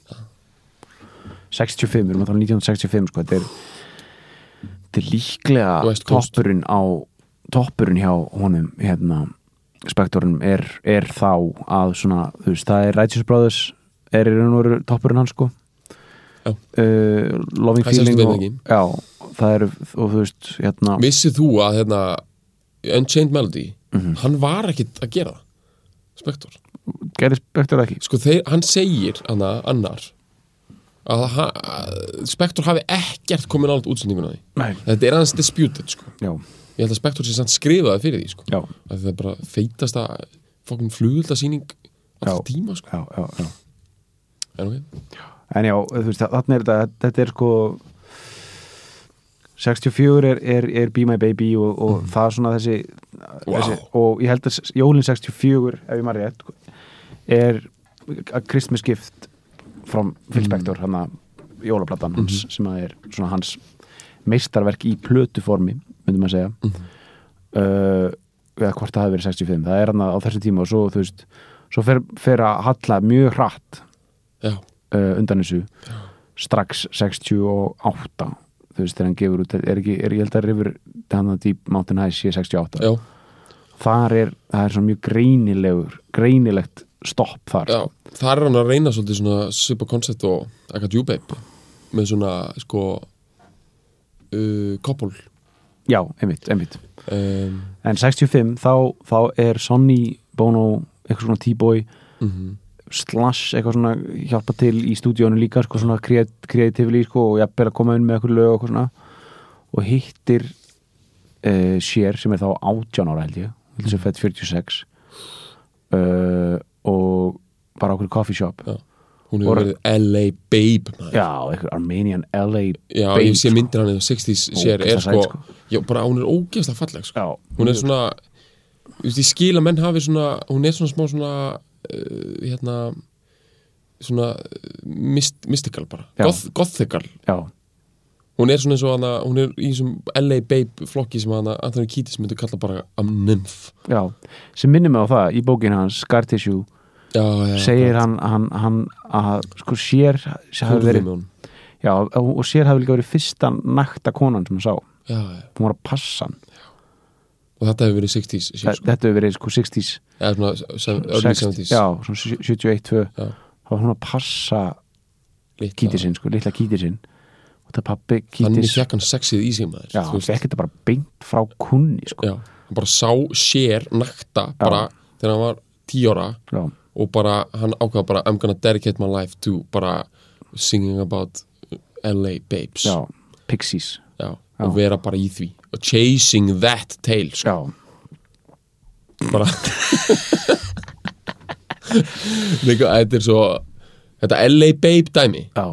[SPEAKER 2] 65, við erum að tala um 1965 sko, þetta er þetta er líklega
[SPEAKER 3] West Coast.
[SPEAKER 2] toppurinn á toppurinn hjá honum hérna spektrum er, er þá að svona, þú veist, það er Righteous Brothers er í raun og veru toppurinn hans sko
[SPEAKER 3] Já.
[SPEAKER 2] Eh, Loving
[SPEAKER 3] Það sést
[SPEAKER 2] Feeling
[SPEAKER 3] við
[SPEAKER 2] og,
[SPEAKER 3] ekki.
[SPEAKER 2] já, það eru, og þú veist hérna,
[SPEAKER 3] Vissið þú að hérna Unchained Melody,
[SPEAKER 2] Mhm.
[SPEAKER 3] hann var ekkit að gera það Spektor
[SPEAKER 2] gerir spektur ekki
[SPEAKER 3] Sko þeir, hann segir hana, annar að, ha- að Spektor hafi ekkert komin álut útsendinguna því
[SPEAKER 2] Nei.
[SPEAKER 3] Þetta er aðeins disputed sko
[SPEAKER 2] já,
[SPEAKER 3] Ég held að Spektor sé samt skrifaði fyrir því sko
[SPEAKER 2] já,
[SPEAKER 3] að það er bara feitasta fokkin flugvöldasýning
[SPEAKER 2] Já.
[SPEAKER 3] alltaf tíma sko
[SPEAKER 2] já, já, já.
[SPEAKER 3] en ok,
[SPEAKER 2] en já, þú veist, þannig er þetta þetta er sko 64 er, er, er Be My Baby og, og það er svona þessi,
[SPEAKER 3] Wow.
[SPEAKER 2] þessi og ég held að s- jólin 64 ef ég maður rétt sko, er að Christmas gift frá Phil Spector, hann að jólaplattan hans sem að er svona hans meistarverk í plötuformi myndum að segja mm eða hvort það hafi verið 65 það er hann að á þessu tíma og svo þú veist svo fer, fer að halla mjög hratt
[SPEAKER 3] já,
[SPEAKER 2] uh, undan þessu strax 68 þú veist þegar hann gefur út er ekki, er, ég held að rifur hann að Deep Mountain High sé 68
[SPEAKER 3] já,
[SPEAKER 2] þar er, það er svona mjög greinilegur greinilegt stopp þar
[SPEAKER 3] já það er hann að reyna svolítið svona super concept og akka djúbeip með svona sko uh, koppul
[SPEAKER 2] já einmitt, einmitt
[SPEAKER 3] um,
[SPEAKER 2] en 65 þá, þá er Sonny Bono eitthvað svona t-boy Mhm. slash eitthvað svona hjálpa til í stúdíónu líka sko svona kreatífli sko og jafnvel að koma inn með eitthvað lög og eitthvað svona og hittir uh, sér sem er þá 18 ára held ég held
[SPEAKER 3] Mhm.
[SPEAKER 2] sem fætt 46 uh, og bara okkur coffee shop
[SPEAKER 3] já. hún hefur
[SPEAKER 2] Og-
[SPEAKER 3] verið LA Babe maður.
[SPEAKER 2] já, eitthvað Armenian LA
[SPEAKER 3] já
[SPEAKER 2] Babe, sko.
[SPEAKER 3] ég sé myndir hann í 60s sér
[SPEAKER 2] Ógeðslega
[SPEAKER 3] er
[SPEAKER 2] sæt,
[SPEAKER 3] sko,
[SPEAKER 2] sko.
[SPEAKER 3] já, bara hún er ógeðslega falleg sko.
[SPEAKER 2] já,
[SPEAKER 3] hún er svona þú veist, ég skil að menn hafi svona hún er svona smá svona uh, hérna svona uh, myst, mystical bara
[SPEAKER 2] Já.
[SPEAKER 3] Goth, gothical
[SPEAKER 2] já,
[SPEAKER 3] hún er svona eins og hana hún er í þessum LA Babe flokki sem hana Anthony Kiedis myndi kalla bara a nymph
[SPEAKER 2] já sem minnir mig á það í bókin hans Scar Tissue
[SPEAKER 3] já, já,
[SPEAKER 2] segir hann, hann, hann að sko sér, sér hafi verið
[SPEAKER 3] hún
[SPEAKER 2] já, og sér hafi líka verið fyrsta nakta konan sem hann sá hún
[SPEAKER 3] já, já.
[SPEAKER 2] var að passa hann
[SPEAKER 3] og þetta hefur verið 60s
[SPEAKER 2] Þa,
[SPEAKER 3] sér, sko.
[SPEAKER 2] þetta hefur verið sko 60s
[SPEAKER 3] eða svona sem- early
[SPEAKER 2] 60,
[SPEAKER 3] 70s
[SPEAKER 2] já, svona 71, 2
[SPEAKER 3] Já.
[SPEAKER 2] þá var hún að passa
[SPEAKER 3] Litla-
[SPEAKER 2] kítið sinn, sko, litla kítið sinn og það pappi
[SPEAKER 3] þannig
[SPEAKER 2] kítið já,
[SPEAKER 3] fekk hann sexið í sig maður þú
[SPEAKER 2] hann
[SPEAKER 3] veist.
[SPEAKER 2] fekk þetta bara beint frá kunni sko.
[SPEAKER 3] já, hann bara sá sér nakta bara þegar hann var 10 ára
[SPEAKER 2] já,
[SPEAKER 3] og bara, hann ákvað bara I'm gonna dedicate my life to bara singing about LA babes
[SPEAKER 2] já, pixies
[SPEAKER 3] Já,
[SPEAKER 2] Já.
[SPEAKER 3] og vera bara í því og chasing that tail sko.
[SPEAKER 2] já,
[SPEAKER 3] bara líka, þetta er svo þetta LA babe dæmi
[SPEAKER 2] já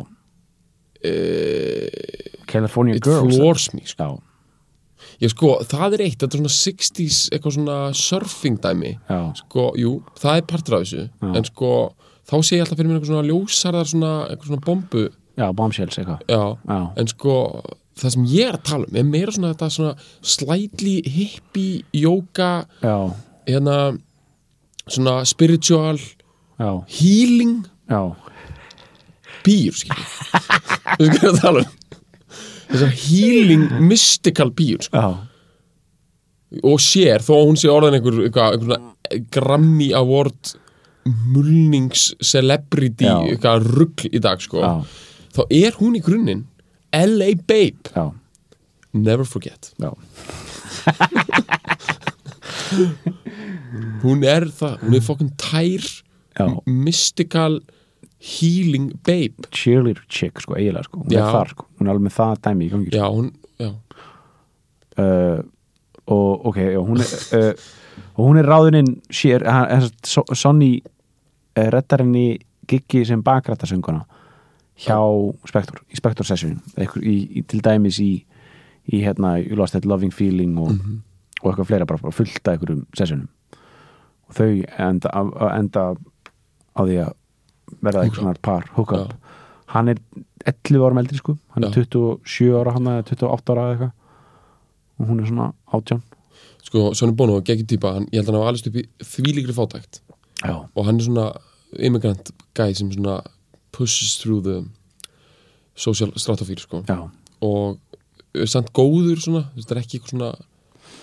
[SPEAKER 3] uh,
[SPEAKER 2] California
[SPEAKER 3] it
[SPEAKER 2] Girls
[SPEAKER 3] floors me sko.
[SPEAKER 2] já,
[SPEAKER 3] Ég, sko, það er eitt, þetta er svona 60s eitthvað svona surfing dæmi
[SPEAKER 2] já,
[SPEAKER 3] sko, jú, það er partur af þessu en sko, þá sé ég alltaf fyrir mér eitthvað svona ljósarðar svona, eitthvað svona bombu
[SPEAKER 2] já, bombshells eitthvað
[SPEAKER 3] já,
[SPEAKER 2] Já.
[SPEAKER 3] en sko það sem ég er að tala um er meira svona þetta svona slightly hippie yoga,
[SPEAKER 2] já,
[SPEAKER 3] hérna svona spiritual
[SPEAKER 2] já,
[SPEAKER 3] healing
[SPEAKER 2] já,
[SPEAKER 3] býr skilur. við Veistu hvað ég er að tala um þessar healing mystical býr sko.
[SPEAKER 2] já
[SPEAKER 3] og sér, þó að hún sé orðin einhver, einhver, einhver Grammy Award mulnings celebrity
[SPEAKER 2] Já.
[SPEAKER 3] eitthvað rugl í dag sko.
[SPEAKER 2] Já.
[SPEAKER 3] þá er hún í grunninn LA Babe,
[SPEAKER 2] já,
[SPEAKER 3] never forget
[SPEAKER 2] já,
[SPEAKER 3] hún er það, hún er fokkin tær
[SPEAKER 2] já.
[SPEAKER 3] m- mystical healing babe
[SPEAKER 2] cheerleader chick sko, eiginlega sko, hún
[SPEAKER 3] Já.
[SPEAKER 2] er þar sko, hún er alveg með það dæmi í gangi sko.
[SPEAKER 3] já, hún, já,
[SPEAKER 2] uh, og ok, já, hún er uh, og hún er ráðuninn sér, eh, hann- hann- so- Sonny uh, rettar henni giggi sem bakrættarsönguna hjá Spektor, í Spektor session í, í, til dæmis í í hérna, you lost that loving feeling og, og eitthvað fleira, bara, bara fullt af einhverjum sessionum og þau enda, að enda á því að verða einhvers konar par, hook up
[SPEAKER 3] Já.
[SPEAKER 2] hann er 11 árum eldri sko hann er
[SPEAKER 3] Já.
[SPEAKER 2] 27 ára hann eða 28 ára eða eitthvað og hún er svona 18
[SPEAKER 3] sko, Sonny Bono, geggjum típa hann, ég held að hann hafa alveg upp í þvílíkri fátækt
[SPEAKER 2] já,
[SPEAKER 3] og hann er svona immigrant guy sem svona pushes through the social stratosphere, sko
[SPEAKER 2] já,
[SPEAKER 3] og er samt góður svona, þetta er ekki eitthvað svona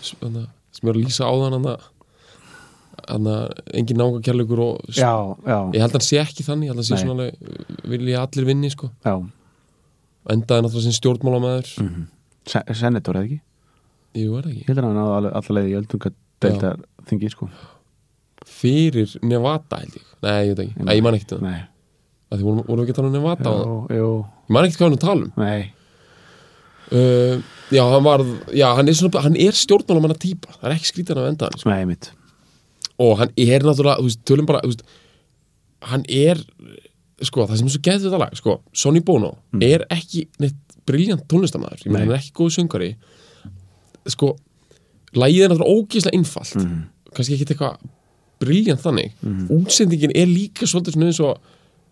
[SPEAKER 3] sem, sem ég var að lýsa áðan hann þannig að engin nága kærleikur og
[SPEAKER 2] já, já,
[SPEAKER 3] ég held að hann sé ekki þannig, ég held að hann sé
[SPEAKER 2] Nei.
[SPEAKER 3] svona alveg vilja allir vinni sko
[SPEAKER 2] já.
[SPEAKER 3] endaði náttúrulega sem stjórnmálamæður
[SPEAKER 2] Mm -hmm. Senator eða ekki?
[SPEAKER 3] jú er það
[SPEAKER 2] Ég heldur að hann náði alveg alla leið í öldunga deildar þingi sko
[SPEAKER 3] ekki fyrir Nevada held ég nei ég veit ekki, nei, ég man ekkert um það
[SPEAKER 2] Nei,
[SPEAKER 3] Af því vorum vorum við ekki að tala um Nevada á það
[SPEAKER 2] jú, jú,
[SPEAKER 3] ég man ekkert hvað hann er að tala um
[SPEAKER 2] nei
[SPEAKER 3] uh, já hann var, já hann er svona hann er stjórnmálamanna típa, það er ekki skrítan af endaðan sko.
[SPEAKER 2] Nei, mitt
[SPEAKER 3] og hann er náttúrulega, þú veist, tölum bara þú veist, hann er sko, það sem er svo geðið þetta lag, sko Sonny Bono er ekki neitt briljant tónlistamæður, ég
[SPEAKER 2] Mm. Nei.
[SPEAKER 3] meina hann er ekki góð söngari sko lagið er náttúrulega ógeðslega einfalt
[SPEAKER 2] Mm.
[SPEAKER 3] kannski ekki eitthvað briljant þannig útsendingin er líka svolítið svona eins og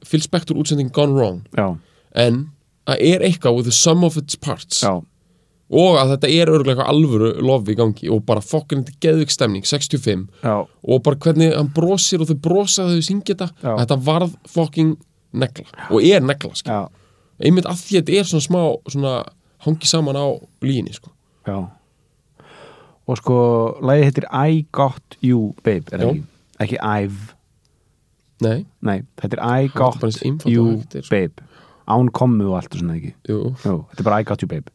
[SPEAKER 3] Phil Spector útsending Gone Wrong
[SPEAKER 2] Já,
[SPEAKER 3] en það er eitthvað with the sum of its parts
[SPEAKER 2] já,
[SPEAKER 3] og að þetta er örgulega eitthvað alvöru lofi í gangi og bara fokkin þetta geðvik stemning 65
[SPEAKER 2] já,
[SPEAKER 3] og bara hvernig hann brosir og þau brosa þegar þau syngja þetta
[SPEAKER 2] Já.
[SPEAKER 3] þetta varð fucking negla og er negla, sko.
[SPEAKER 2] já,
[SPEAKER 3] einmitt af því að þetta er svona smá svona, hangi saman á líginni sko.
[SPEAKER 2] já Og sko, lagið heitir I got you, babe, er það
[SPEAKER 3] Jú.
[SPEAKER 2] ekki? Ekki I've,
[SPEAKER 3] nei,
[SPEAKER 2] nei, þetta er I
[SPEAKER 3] bara
[SPEAKER 2] got
[SPEAKER 3] eins einfalt
[SPEAKER 2] you,
[SPEAKER 3] og hægt er, sko.
[SPEAKER 2] babe Án komu og allt og svona ekki
[SPEAKER 3] jú,
[SPEAKER 2] Jú, þetta er bara I got you, babe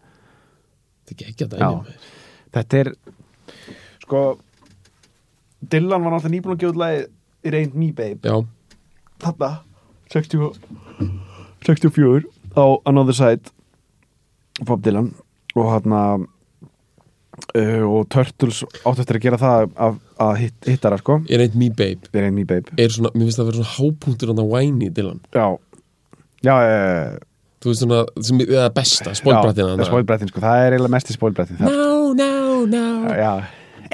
[SPEAKER 3] þetta er ekki ekki að
[SPEAKER 2] Já.
[SPEAKER 3] dæmi
[SPEAKER 2] Þetta er, sko Dylan var náttúrulega nýbúin að gefa út lagið It ain't me, babe
[SPEAKER 3] já,
[SPEAKER 2] þarna 60 64 á Another Side Bob Dylan og hann uh, og Turtles átt eftir að gera það að, að hitt, hittara sko
[SPEAKER 3] er eitt me babe
[SPEAKER 2] There ain't me babe
[SPEAKER 3] er svona, mér finnst það að vera svona hápunktur hann að whiny Dylan,
[SPEAKER 2] já, já, eh,
[SPEAKER 3] þú veist svona sem, eða besta,
[SPEAKER 2] já
[SPEAKER 3] spólbrættina
[SPEAKER 2] spólbrættin sko, það er eiginlega mesti spólbrættin það
[SPEAKER 3] no, no, no
[SPEAKER 2] já,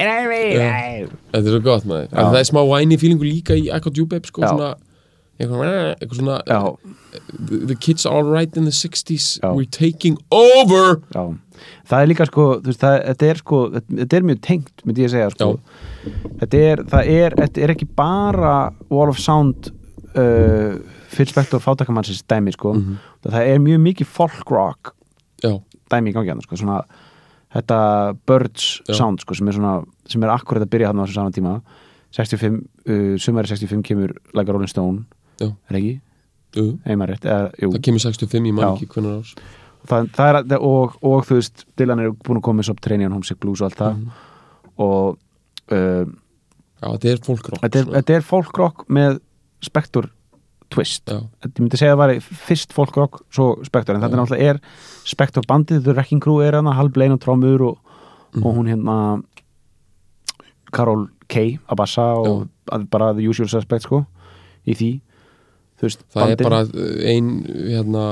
[SPEAKER 3] Já. þetta er svo gott maður, Af því það er smá whiny feelingu líka í Akko Djúbeip sko,
[SPEAKER 2] Já.
[SPEAKER 3] svona eitthvað, eitthvað svona
[SPEAKER 2] já,
[SPEAKER 3] the, the kids are right in the 60s
[SPEAKER 2] Já.
[SPEAKER 3] we're taking over
[SPEAKER 2] já það er líka sko, þú veist, það, þetta er sko þetta er mjög tengt, myndi ég segja sko
[SPEAKER 3] já,
[SPEAKER 2] þetta er, það er, þetta er ekki bara Wall of Sound uh, Phil Spector fátakamannsins dæmi sko.
[SPEAKER 3] Mhm.
[SPEAKER 2] það er mjög mikið folk rock
[SPEAKER 3] já,
[SPEAKER 2] dæmi í gangi hann sko. svona, þetta birds
[SPEAKER 3] Já.
[SPEAKER 2] sound sko, sem er, svona, sem er akkurat að byrja hann á þessum saman tíma 65, uh, sumari 65 kemur Like a Rolling Stone
[SPEAKER 3] Já.
[SPEAKER 2] er ekki,
[SPEAKER 3] jú,
[SPEAKER 2] heimar rétt eða, jú.
[SPEAKER 3] það kemur 65 ég man
[SPEAKER 2] Já.
[SPEAKER 3] ekki hvernig árs
[SPEAKER 2] það, það er, og, og þú veist Dylan er búin að koma með Subterranean Homesick Blues og allt það
[SPEAKER 3] Mhm.
[SPEAKER 2] og uh,
[SPEAKER 3] já, þetta er sko. fólkrock
[SPEAKER 2] þetta, er,
[SPEAKER 3] svona.
[SPEAKER 2] þetta er folk rock með Spector twist
[SPEAKER 3] já,
[SPEAKER 2] ég myndi segja að það var fyrst folk rock svo Spector, en þetta er náttúrulega er Spector bandið, The Wrecking Crew er hana Hal Blaine og Trommur og,
[SPEAKER 3] Mhm.
[SPEAKER 2] og hún hérna Karol K. að bassa og að, bara The Usual Suspect sko í því, þú veist
[SPEAKER 3] það er bara uh, ein hérna,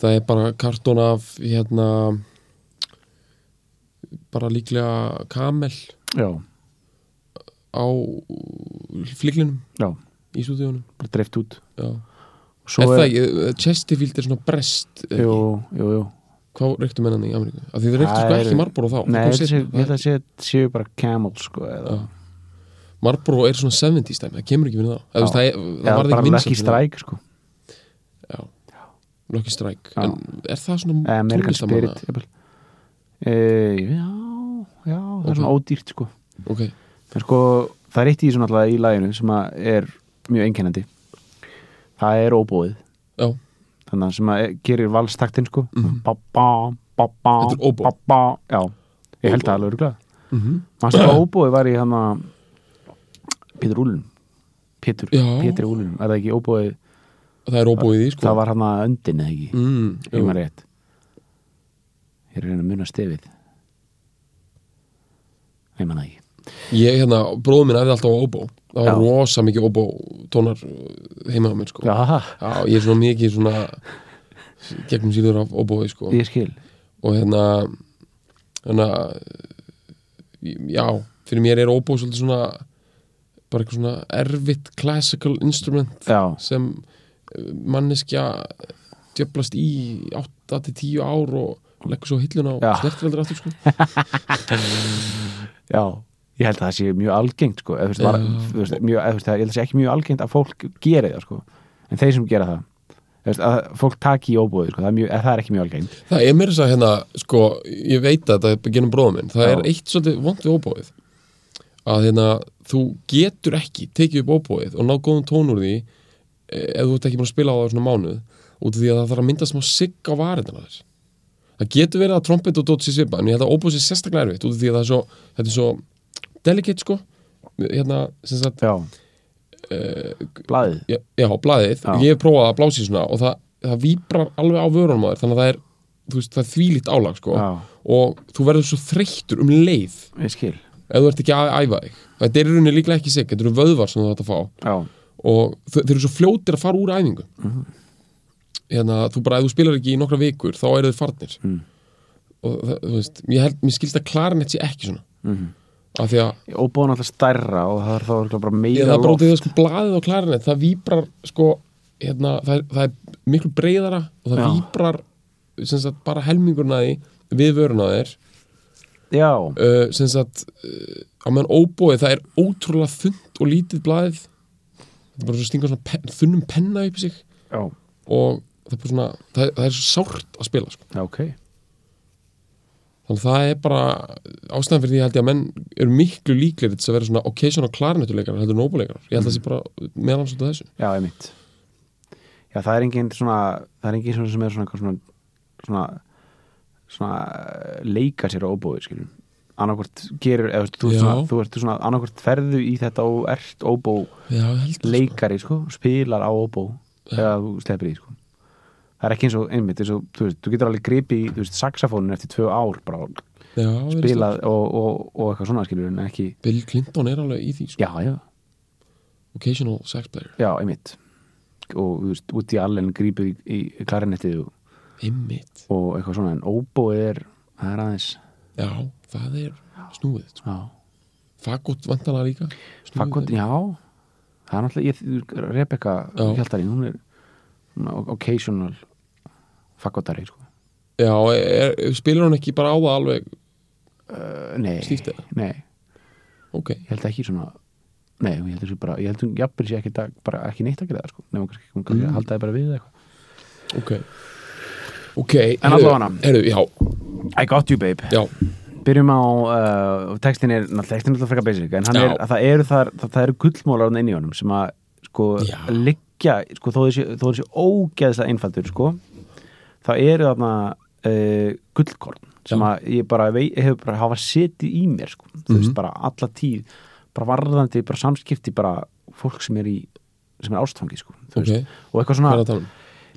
[SPEAKER 3] það er bara kartón af hérna bara líklega kamel
[SPEAKER 2] já,
[SPEAKER 3] á fliglinum
[SPEAKER 2] já,
[SPEAKER 3] í stúdíunum
[SPEAKER 2] bara dreift út
[SPEAKER 3] já.
[SPEAKER 2] svo
[SPEAKER 3] er það ekki, uh, Chesterfield er svona brest er
[SPEAKER 2] jú,
[SPEAKER 3] ekki?
[SPEAKER 2] jú, jú
[SPEAKER 3] hvað reyktu mennan í Ameríku? af því þeir reyktu sko
[SPEAKER 2] Það er-
[SPEAKER 3] ekki Marlboro þá
[SPEAKER 2] Nei,
[SPEAKER 3] Það kom
[SPEAKER 2] þetta sé,
[SPEAKER 3] seinna.
[SPEAKER 2] ég held að sé, séu bara camel sko eða,
[SPEAKER 3] Já. Marlboro er svona 70s dæmi, það kemur ekki fyrir það Eða, þú veist, það, er-
[SPEAKER 2] eða
[SPEAKER 3] það varði
[SPEAKER 2] bara
[SPEAKER 3] ekki
[SPEAKER 2] Lucky Strike sko,
[SPEAKER 3] stræk Lucky Strike,
[SPEAKER 2] Já.
[SPEAKER 3] en er það svona
[SPEAKER 2] eða American
[SPEAKER 3] tónlistamanna?
[SPEAKER 2] Spirit jafnvel. e, já, já það
[SPEAKER 3] Ok.
[SPEAKER 2] er svona ódýrt sko
[SPEAKER 3] ok,
[SPEAKER 2] En sko, það er eitt í þessu náttúrulega í laginu sem að er mjög einkennandi Það er óbóið
[SPEAKER 3] já,
[SPEAKER 2] Þannig að sem að gerir valstaktin sko Ba-ba, ba-ba,
[SPEAKER 3] Mhm. Þetta er óbóið.
[SPEAKER 2] ba-ba Já, ég held það alveg örgulega
[SPEAKER 3] mm
[SPEAKER 2] Manstu að óbóið var í hann að Pétur Úlun Pétur,
[SPEAKER 3] Já.
[SPEAKER 2] Pétur Úlun, er það ekki óbóið
[SPEAKER 3] það er óbúið í því sko
[SPEAKER 2] Það var hann að öndin eða ekki
[SPEAKER 3] mm,
[SPEAKER 2] Ég
[SPEAKER 3] jú.
[SPEAKER 2] maður rétt Ég er að reyna að muna stefið Ég maður ekki
[SPEAKER 3] ég, hérna, bróðum minn æfði alltaf á óbó það var
[SPEAKER 2] Já.
[SPEAKER 3] rosa mikið óbó tónar uh, heima á mér sko
[SPEAKER 2] Já,
[SPEAKER 3] Já, ég er svona mikið svona gegnum síður af óbói sko
[SPEAKER 2] ég skil
[SPEAKER 3] og hérna hérna já, fyrir mér er óbó svolítið svona bara eitthvað svona erfitt classical instrument
[SPEAKER 2] Já,
[SPEAKER 3] sem eh, manneskja djöflast í 8-10 ár og leggur svo á hilluna
[SPEAKER 2] Já.
[SPEAKER 3] og snertiveldur aftur sko
[SPEAKER 2] Já, ég held að það sé mjög algengt sko, eða, þú veist, bara,
[SPEAKER 3] Já.
[SPEAKER 2] þú veist, mjög, eða, þú veist, það- ég held að það sé ekki mjög algengt að fólk geri það sko, en þeir sem gera það þú veist, að fólk taki í óbúið sko, það, er mjög, eða, það er ekki mjög algengt
[SPEAKER 3] það er mér þess að hérna, sko, ég veit að þetta er genum bróðum minn, það
[SPEAKER 2] Já.
[SPEAKER 3] er eitt svolítið vond við óbóið að hérna, þú getur ekki tekið upp óbóið og ná góðum tón úr því eh, ef þú ert ekki búin að spila á það svona mánuð út af því að það þarf að mynda smá sigg á varirnar þess það getur verið að trompet og dót sér svipa en ég held að óbóið sér sérstaklega erfitt út af því að það er svo, þetta er svo delicate sko hérna, sem sagt,
[SPEAKER 2] já,
[SPEAKER 3] eh,
[SPEAKER 2] blaðið
[SPEAKER 3] já, já, blaðið,
[SPEAKER 2] Já.
[SPEAKER 3] ég hef prófað að blási svona og það, það víbrar alveg á vörunum á þér þannig að það er, þú veist, það er þvílíkt álag sko.
[SPEAKER 2] já,
[SPEAKER 3] og þú verður svo þreyttur um leið ef
[SPEAKER 2] ég skil
[SPEAKER 3] þú ert ekki að æfa þig þetta er í rauninni líklega ekki sig, þetta eru vöðvar sem þú ætti að fá
[SPEAKER 2] já,
[SPEAKER 3] og þe- þeir eru svo fljótir að fara úr æfingu
[SPEAKER 2] Mhm.
[SPEAKER 3] hérna, þú bara, ef þú spilar ekki í nokkra vikur, þá eru þið farnir
[SPEAKER 2] Mm.
[SPEAKER 3] og það, þú veist, ég held, mér skilst að klarinett sé ekki svona
[SPEAKER 2] Mhm.
[SPEAKER 3] af því að
[SPEAKER 2] og búin alltaf stærra og það er þá örugglega bara
[SPEAKER 3] Ég,
[SPEAKER 2] meira
[SPEAKER 3] það
[SPEAKER 2] loft.
[SPEAKER 3] brótið sko blaðið á klarinett það víbrar sko hérna, það, er, það er miklu breyðara og það
[SPEAKER 2] Já.
[SPEAKER 3] víbrar sem sagt bara helmingurna því við vöruna þér
[SPEAKER 2] já,
[SPEAKER 3] uh, sem sagt uh, á meðan óbóið það er ótrúlega þund og lítið blaðið það er bara svo stinga svona pen, þunnum penna upp í sig
[SPEAKER 2] já,
[SPEAKER 3] og það er bara svona það, er- það er svo sárt að spila sko
[SPEAKER 2] já, ok
[SPEAKER 3] þannig að það er bara ástæðan fyrir því held ég að menn eru miklu líklegir til þess að vera svona occasional klarinettuleikarar heldur en óbóleikarar ég held að það sé bara meðan út af þessu
[SPEAKER 2] Já, einmitt Já, það er engin svona það er engin svona sem er svona eitthvað svona, svona, svona eh, leika sér á óbóði, skiljum annarkvort gerur, eða þú veist, þú ert
[SPEAKER 3] Já.
[SPEAKER 2] svona, þú ert svona annarkvort ferðu í þetta og ert óbó
[SPEAKER 3] Já, ég held það, sko.
[SPEAKER 2] leikari, sko, spilar á óbó eða þú sleppir í, sko það er ekki eins og einmitt, eins og, þú veist, þú getur alveg gripi í, þú veist, saxofónin eftir tvö ár bara og
[SPEAKER 3] Já, spila
[SPEAKER 2] spilað og, og, og eitthvað svona, skiljum, en ekki
[SPEAKER 3] Bill Clinton er alveg í því sko.
[SPEAKER 2] Já, já,
[SPEAKER 3] Occasional sex player
[SPEAKER 2] já, einmitt og, þú veist, út í allen grípið í, í klarinettið og
[SPEAKER 3] Einmitt
[SPEAKER 2] og eitthvað svona en óbóið er, það er aðeins
[SPEAKER 3] Já, það er snúið sko.
[SPEAKER 2] já,
[SPEAKER 3] Fagott vantala líka Snúið
[SPEAKER 2] fakkot,
[SPEAKER 3] er-
[SPEAKER 2] já það er náttúrulega, ég, Rebecca
[SPEAKER 3] Já.
[SPEAKER 2] Hjaltarín, hún er svona occasional fakkotari sko.
[SPEAKER 3] Já, er, er, spilar hún ekki bara á það alveg
[SPEAKER 2] uh, nei,
[SPEAKER 3] Stíft eða?
[SPEAKER 2] nei,
[SPEAKER 3] Ok,
[SPEAKER 2] ég held ekki svona nei, ég held þessu bara, ég held hún jafnir sér ekki, dag- bara, ekki neitt að gera það, sko, nefnum kannski hún kannski
[SPEAKER 3] Mm.
[SPEAKER 2] mm. haldaði bara við eða eitthvað
[SPEAKER 3] ok Ok, en
[SPEAKER 2] allavega.
[SPEAKER 3] Herru, já,
[SPEAKER 2] I got you babe,
[SPEAKER 3] já,
[SPEAKER 2] byrjum á uh, textin er, náttúrulega textin er náttúrulega frekar basic en hann
[SPEAKER 3] Já.
[SPEAKER 2] er, að það eru þar, það, það eru gullmólar inn í honum sem að sko
[SPEAKER 3] Já.
[SPEAKER 2] liggja, sko þó þessi, þó þessi ógeðslega einfaldur sko það eru þarna uh, gullkorn sem
[SPEAKER 3] Já.
[SPEAKER 2] að ég bara vei, hefur bara hafa setið í mér sko, þú
[SPEAKER 3] Mhm.
[SPEAKER 2] veist bara alla tíð bara varðandi, bara samskipti bara fólk sem er í, sem er ástfangi sko, þú
[SPEAKER 3] ok
[SPEAKER 2] veist, og eitthvað
[SPEAKER 3] Hvað er
[SPEAKER 2] svona
[SPEAKER 3] að tala um?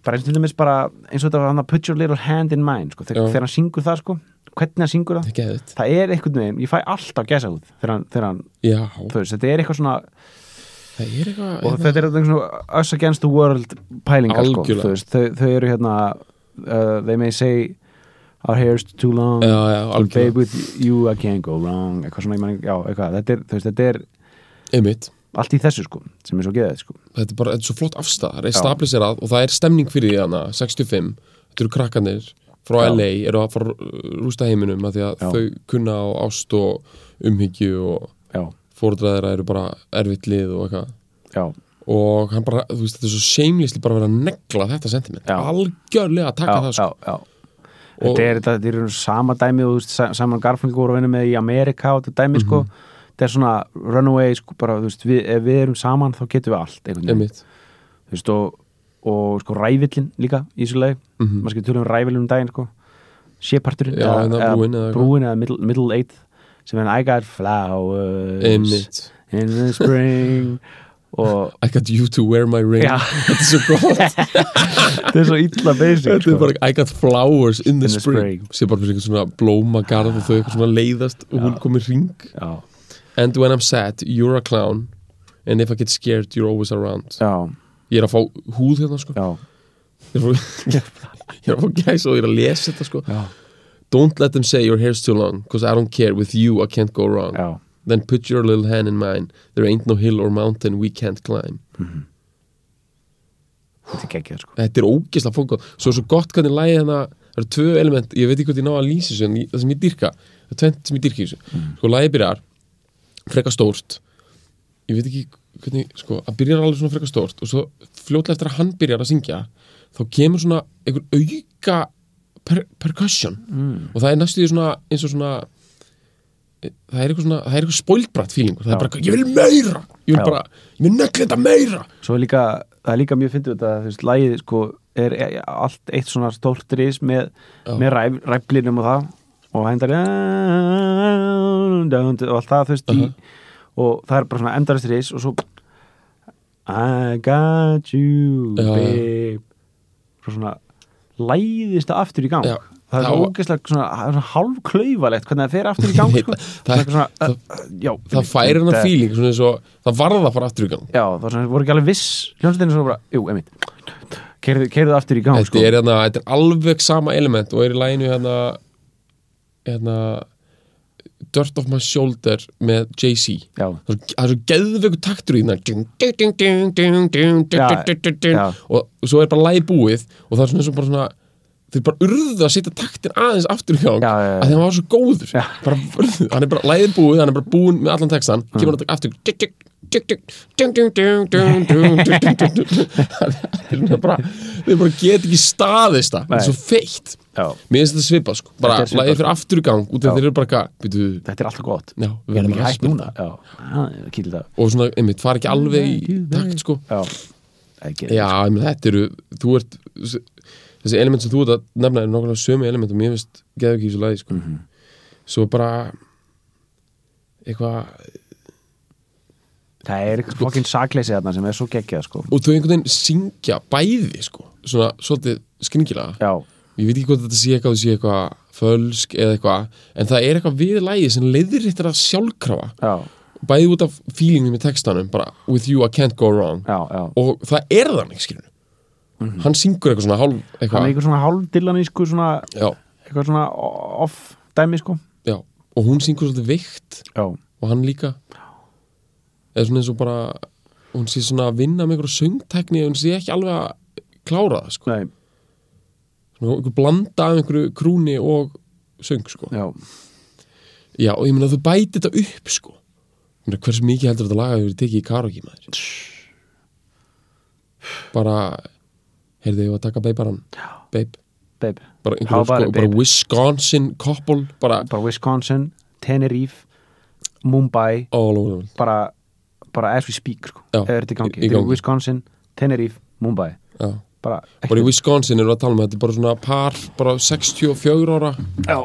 [SPEAKER 2] bara eins og til dæmis bara, eins og þetta var hann að put your little hand in mine sko,
[SPEAKER 3] Já.
[SPEAKER 2] þegar, þegar hann syngur það sko, hvernig hann syngur það
[SPEAKER 3] Það er geðið
[SPEAKER 2] það er einhvern veginn, ég fæ alltaf gæsa út þegar hann, þegar hann
[SPEAKER 3] Já,
[SPEAKER 2] þú veist, þetta er eitthvað svona
[SPEAKER 3] það er eitthvað
[SPEAKER 2] og
[SPEAKER 3] hérna-
[SPEAKER 2] þetta er eitthvað svona us against the world pælingar, sko,
[SPEAKER 3] Algjörlega.
[SPEAKER 2] þú veist, þau, þau eru hérna uh, they may say our hair's too long
[SPEAKER 3] Já, já,
[SPEAKER 2] babe
[SPEAKER 3] algjörlega
[SPEAKER 2] with you I can't go wrong eitthvað svona, ég man, já, eitthvað, þetta er, þú veist, þetta er
[SPEAKER 3] Einmitt
[SPEAKER 2] allt í þessu, sko, sem er svo geðið, sko
[SPEAKER 3] þetta er bara, þetta er svo flott afstæð það er stabiliserað og það er stemning fyrir því hana 65, þetta eru krakkanir frá
[SPEAKER 2] Já.
[SPEAKER 3] LA, eru að fara að rústa heiminum af því að
[SPEAKER 2] Já.
[SPEAKER 3] þau kunna á ást og umhyggju og
[SPEAKER 2] já,
[SPEAKER 3] fóruðræðra eru bara erfitt lið og eitthvað
[SPEAKER 2] já,
[SPEAKER 3] og hann bara, þú veist, þetta er svo seimlisli bara að vera að negla þetta sentiment
[SPEAKER 2] Já.
[SPEAKER 3] algjörlega að taka
[SPEAKER 2] já,
[SPEAKER 3] það
[SPEAKER 2] já,
[SPEAKER 3] sko.
[SPEAKER 2] já
[SPEAKER 3] Og-
[SPEAKER 2] þetta er, þetta, þetta er sama dæmi og, þú veist, sa- saman Garfunkel voru að vinna með í Amerika og þetta dæmi
[SPEAKER 3] Mhm.
[SPEAKER 2] sko þetta er svona runaway sko bara þú veist, við, ef við erum saman þá getum við allt einhvern veginn.
[SPEAKER 3] einmitt,
[SPEAKER 2] þú veist og, og sko rævillin líka í þessu lagi mm -hmm.
[SPEAKER 3] Mhm.
[SPEAKER 2] maður skil tölum rævillin um daginn sko séparturinn
[SPEAKER 3] Já, hérna brúin eða eitthvað.
[SPEAKER 2] brúin eða middle, middle eight sem er I got flowers
[SPEAKER 3] einmitt
[SPEAKER 2] in the spring og
[SPEAKER 3] I got you to wear my ring
[SPEAKER 2] Já.
[SPEAKER 3] þetta er svo gott,
[SPEAKER 2] þetta er svo illa basic
[SPEAKER 3] þetta
[SPEAKER 2] sko.
[SPEAKER 3] er bara I got flowers in the,
[SPEAKER 2] In the
[SPEAKER 3] spring,
[SPEAKER 2] spring.
[SPEAKER 3] sé bara fyrir einhvern svona blómagarð og þau eitthvað svona leiðast og hún kom í ring
[SPEAKER 2] já,
[SPEAKER 3] And when I'm sad, you're a clown And if I get scared, you're always around
[SPEAKER 2] já,
[SPEAKER 3] Ég er að fá húð hérna sko
[SPEAKER 2] já,
[SPEAKER 3] Ég er að fá, ég er að fá gæs og ég er að lesa þetta sko
[SPEAKER 2] já,
[SPEAKER 3] Don't let them say your hair's too long Cause I don't care, with you I can't go wrong
[SPEAKER 2] já.
[SPEAKER 3] Then put your little hand in mine There ain't no hill or mountain we can't climb
[SPEAKER 2] þetta er geggjað sko
[SPEAKER 3] Þetta er ógeðslega fóngóð Svo er svo gott hvernig lægið hérna Það eru tvö element, ég veit ekki hvort ég ná að lýsa þessu en ég- það sem ég dyrka, það er tvent sem ég dyrka í þessu
[SPEAKER 2] Mm.
[SPEAKER 3] Sko lægið byrjar frekar stórt Ég veit ekki hvernig, sko, að byrjar alveg svona frekar stórt og svo fljótlega eftir að hann byrjar að syngja þá kemur svona einhver auka per percussion
[SPEAKER 2] mm.
[SPEAKER 3] og það er næstu því svona eins og svona það er eitthvað svona, það er eitthvað spoilbrætt fílingur, það
[SPEAKER 2] Já.
[SPEAKER 3] er bara, eitthvað, ég vil meira ég vil
[SPEAKER 2] Já.
[SPEAKER 3] bara, ég vil negli þetta meira
[SPEAKER 2] Svo er líka, það er líka mjög fyndið þetta, þú veist, lagið sko er er allt eitt svona stórt rís með,
[SPEAKER 3] Já.
[SPEAKER 2] með ræf, ræflinum og það og hændar og allt það, þú veist,
[SPEAKER 3] Uh-huh.
[SPEAKER 2] í og það er bara svona endarist rís og svo I got you,
[SPEAKER 3] Já, já.
[SPEAKER 2] babe og svona læðist það aftur í gang
[SPEAKER 3] Já.
[SPEAKER 2] það er
[SPEAKER 3] Já.
[SPEAKER 2] svo ógeðslega svona, það er svona hálfklaufalegt hvernig það fer aftur í gang
[SPEAKER 3] Ég veit
[SPEAKER 2] sko. það
[SPEAKER 3] það.
[SPEAKER 2] er
[SPEAKER 3] Það-
[SPEAKER 2] svona,
[SPEAKER 3] það-
[SPEAKER 2] uh, já,
[SPEAKER 3] það færir hennar
[SPEAKER 2] þetta-
[SPEAKER 3] fíling, svona eins og það varða að fara aftur í gang
[SPEAKER 2] Já, það var svona, voru ekki alveg viss hljónsveitinu svona bara, jú, emitt keirðu, keirðu aftur í gang,
[SPEAKER 3] þetta,
[SPEAKER 2] sko
[SPEAKER 3] er, hérna, þetta er alveg sama element og er í læginu hérna, hérna Dirt of my shoulder með Jay-Z
[SPEAKER 2] Já,
[SPEAKER 3] það er svo- það er svo geðveiku taktur í hérna
[SPEAKER 2] Já.
[SPEAKER 3] og svo er bara lægi búið og það er svona eins og bara svona þeir bara urðu að setja taktin aðeins aftur í gang
[SPEAKER 2] Já, já, já.
[SPEAKER 3] að þeim var svo góður
[SPEAKER 2] Já. Mm.
[SPEAKER 3] bara, urðu, hann er bara lægið búið, hann er bara búin með allan textan, kemur hann aftur þeir bara þeir bara get ekki staðist það, þetta er
[SPEAKER 2] Nei.
[SPEAKER 3] svo feitt
[SPEAKER 2] já,
[SPEAKER 3] mér finnst þetta svipa sko, bara
[SPEAKER 2] Þetta er svipað,
[SPEAKER 3] lægið fyrir aftur í gang út af
[SPEAKER 2] Já.
[SPEAKER 3] þeir eru bara eitthvað, býtu,
[SPEAKER 2] þetta er alltaf gott
[SPEAKER 3] já,
[SPEAKER 2] Við erum ekki
[SPEAKER 3] að
[SPEAKER 2] hægt
[SPEAKER 3] spila
[SPEAKER 2] núna Já, já, kýl það
[SPEAKER 3] og svona, einmitt, fara ekki alveg í takt sko.
[SPEAKER 2] Já, ekki
[SPEAKER 3] já, einmitt, þetta eru þú ert, þessi element sem þú ert að nefna er nákvæmlega sömu element og mér finnst geðu ekki í þessu lagi sko. svo bara eitthvað
[SPEAKER 2] Það er eitthvað fokkin sakleysi þarna sem er svo geggjað, sko
[SPEAKER 3] og þau einhvern veginn syngja bæði sko. svona, svolítið skringilega
[SPEAKER 2] Já,
[SPEAKER 3] ég veit ekki hvort þetta sé eitthvað, það sé eitthvað fölsk eða eitthvað, en það er eitthvað við lagið sem leiðir að sjálfkrafa
[SPEAKER 2] já,
[SPEAKER 3] bæði út af feelingum í textanum bara, with you I can't go wrong
[SPEAKER 2] já, já
[SPEAKER 3] og það er þannig skilur hann syngur eitthvað svona hálf eitthvað,
[SPEAKER 2] Mhm. Hann er eitthvað svona hálfdillanísku, svona
[SPEAKER 3] já,
[SPEAKER 2] eitthvað svona off dæmi, sko
[SPEAKER 3] já, og hún syngur svolítið veikt
[SPEAKER 2] Já,
[SPEAKER 3] og hann líka eða svona eins og bara hún sé svona að vinna með einhverja söngtekni en hún sé ekki alveg að klára það sko.
[SPEAKER 2] nei,
[SPEAKER 3] svona einhver blanda af einhverju krúni og söng sko.
[SPEAKER 2] já
[SPEAKER 3] já, og ég meina þú bæti þetta upp sko. Ég meina, hversu mikið heldur þetta laga hefur tekið í karaoke maður bara heyrðu ég var að taka beibaran beib
[SPEAKER 2] Babe,
[SPEAKER 3] bara,
[SPEAKER 2] How
[SPEAKER 3] einhverjum,
[SPEAKER 2] about
[SPEAKER 3] sko,
[SPEAKER 2] it,
[SPEAKER 3] bara
[SPEAKER 2] babe?
[SPEAKER 3] Wisconsin couple bara
[SPEAKER 2] bara Wisconsin, Tenerife Mumbai
[SPEAKER 3] all over the world
[SPEAKER 2] bara, bara as we speak sko.
[SPEAKER 3] Já,
[SPEAKER 2] ef þetta er í gangi,
[SPEAKER 3] í- í
[SPEAKER 2] þetta er
[SPEAKER 3] gangi.
[SPEAKER 2] Wisconsin Tenerife, Mumbai
[SPEAKER 3] já.
[SPEAKER 2] bara,
[SPEAKER 3] bara í Wisconsin eru að tala með þetta er bara svona par, bara 64 ára
[SPEAKER 2] já,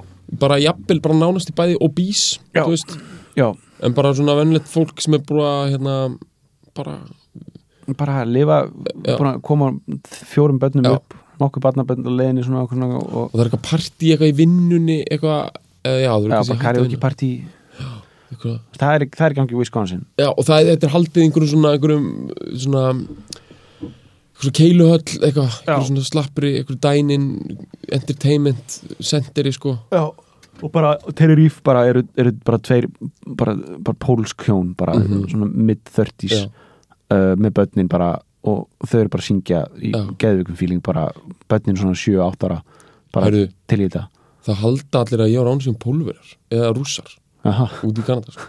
[SPEAKER 3] bara jafnvel, bara nánast í bæði obese,
[SPEAKER 2] Já.
[SPEAKER 3] þú veist
[SPEAKER 2] já,
[SPEAKER 3] en bara svona vennlegt fólk sem er búið að hérna, bara,
[SPEAKER 2] bara að lifa
[SPEAKER 3] Já.
[SPEAKER 2] búin að koma fjórum börnum
[SPEAKER 3] Já.
[SPEAKER 2] upp nokkuð barnabörn og leiðinni svona, og svona og,
[SPEAKER 3] og það er eitthvað partí eitthvað í vinnunni eitthvað, eða já, þú
[SPEAKER 2] já, bara karaoke partí
[SPEAKER 3] partí
[SPEAKER 2] það er, það er í gangi í Wisconsin
[SPEAKER 3] já, og það er, þetta er haldið í einhverjum svona einhverjum svona einhverjum svona keiluhöll, eitthvað einhverjum svona slappri, einhverjum dænin entertainment centeri, sko
[SPEAKER 2] já, og bara Tenerife bara eru, eru bara tveir bara, bara pólsk hjón, bara svona mid-30s
[SPEAKER 3] Mhm. Já.
[SPEAKER 2] uh, með börnin bara og þau eru bara að syngja í
[SPEAKER 3] Já.
[SPEAKER 2] geðvikum fíling bara börnin svona 7-8 ára bara
[SPEAKER 3] Heyrðu.
[SPEAKER 2] til í þetta
[SPEAKER 3] það halda allir að ég var án sem pólverjar eða rússar
[SPEAKER 2] Aha.
[SPEAKER 3] út í Kanada sko.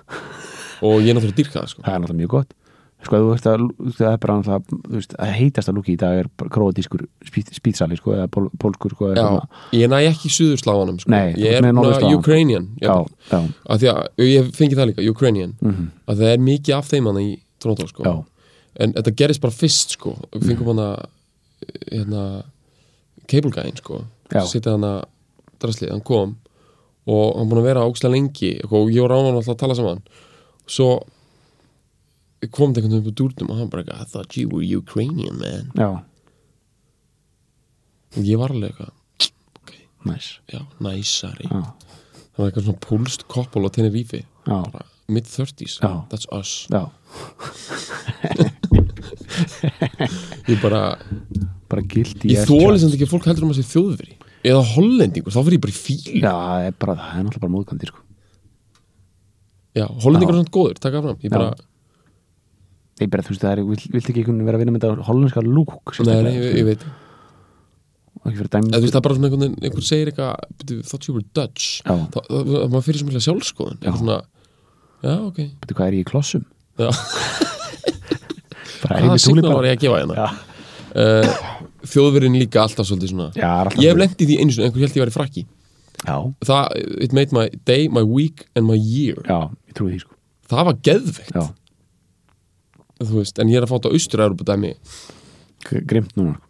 [SPEAKER 3] og ég er náttúrulega dýrka það sko.
[SPEAKER 2] það er náttúrulega mjög gott sko ef þú veist að það er bara náttúrulega þú veist, að heitasta lúki í dag er bara króatískur spýtsali sko eða pól, pólskur sko eða
[SPEAKER 3] já,
[SPEAKER 2] svona.
[SPEAKER 3] ég næ ekki suðursláanum sko.
[SPEAKER 2] Nei, þú
[SPEAKER 3] ég
[SPEAKER 2] ert
[SPEAKER 3] er
[SPEAKER 2] með
[SPEAKER 3] svona
[SPEAKER 2] norðurslávana.
[SPEAKER 3] Ukrainian já,
[SPEAKER 2] já, já,
[SPEAKER 3] Af því að ég fengi það líka, Ukrainian að það er mikið af þeim hann í Toronto sko.
[SPEAKER 2] já,
[SPEAKER 3] en þetta gerist bara fyrst sko. og
[SPEAKER 2] Mm.
[SPEAKER 3] fengum hann að hérna, cable guy sko.
[SPEAKER 2] Já.
[SPEAKER 3] sitja hann að draslið, hann kom og hann búin að vera ókslega lengi eitthvað, og ég og Ráman alltaf að tala saman svo kom þetta einhvern veginn upp á dúrnum og hann bara eitthvað, I thought you were Ukrainian man
[SPEAKER 2] já,
[SPEAKER 3] og ég var alveg eitthvað,
[SPEAKER 2] næs
[SPEAKER 3] já, næsari
[SPEAKER 2] já,
[SPEAKER 3] það var eitthvað svona púlst koppul á Tenerife
[SPEAKER 2] já,
[SPEAKER 3] bara mid-30s,
[SPEAKER 2] Já.
[SPEAKER 3] that's us
[SPEAKER 2] já,
[SPEAKER 3] ég bara,
[SPEAKER 2] bara gildi
[SPEAKER 3] ég þóli sem þetta ekki að fólk heldur um að sé þjóðveri eða hollendingur, þá fyrir ég bara í fíl
[SPEAKER 2] já, það er bara, það er náttúrulega bara móðkandi sko
[SPEAKER 3] Já, hollendingar er svona góður, taka fram Ég bara,
[SPEAKER 2] ég bara, þú veist, það er, vilt, vilt ekki einhvern vera að vinna með þetta hollenska lúk
[SPEAKER 3] nei, nei, ég, ég veit
[SPEAKER 2] og ekki fyrir dæmi
[SPEAKER 3] Eða, þú veist, Það er bara svona einhvern veginn, einhver segir eitthvað "Bíddu, Thought you were Dutch
[SPEAKER 2] Já.
[SPEAKER 3] Þá- þá- þá- Maður fyrir sem vilja sjálfskoðun
[SPEAKER 2] Já.
[SPEAKER 3] Eitthvað svona, já, ok
[SPEAKER 2] Veitu hvað er ég í klossum?
[SPEAKER 3] Já.
[SPEAKER 2] bara er ég
[SPEAKER 3] Hvaða
[SPEAKER 2] með túli
[SPEAKER 3] signal var ég að gefa hérna?
[SPEAKER 2] Já.
[SPEAKER 3] Uh, þjóðverin líka alltaf svolítið svona
[SPEAKER 2] Já, það er alltaf
[SPEAKER 3] Ég hef
[SPEAKER 2] svona.
[SPEAKER 3] lent í því einu svona, einhver held ég væri frakki
[SPEAKER 2] já,
[SPEAKER 3] það, it made my day, my week and my year
[SPEAKER 2] já, ég trúi því sko
[SPEAKER 3] það var geðveikt
[SPEAKER 2] já,
[SPEAKER 3] þú veist, en ég er að fá þetta austur-Európa dæmi
[SPEAKER 2] gr- grimt núna sko.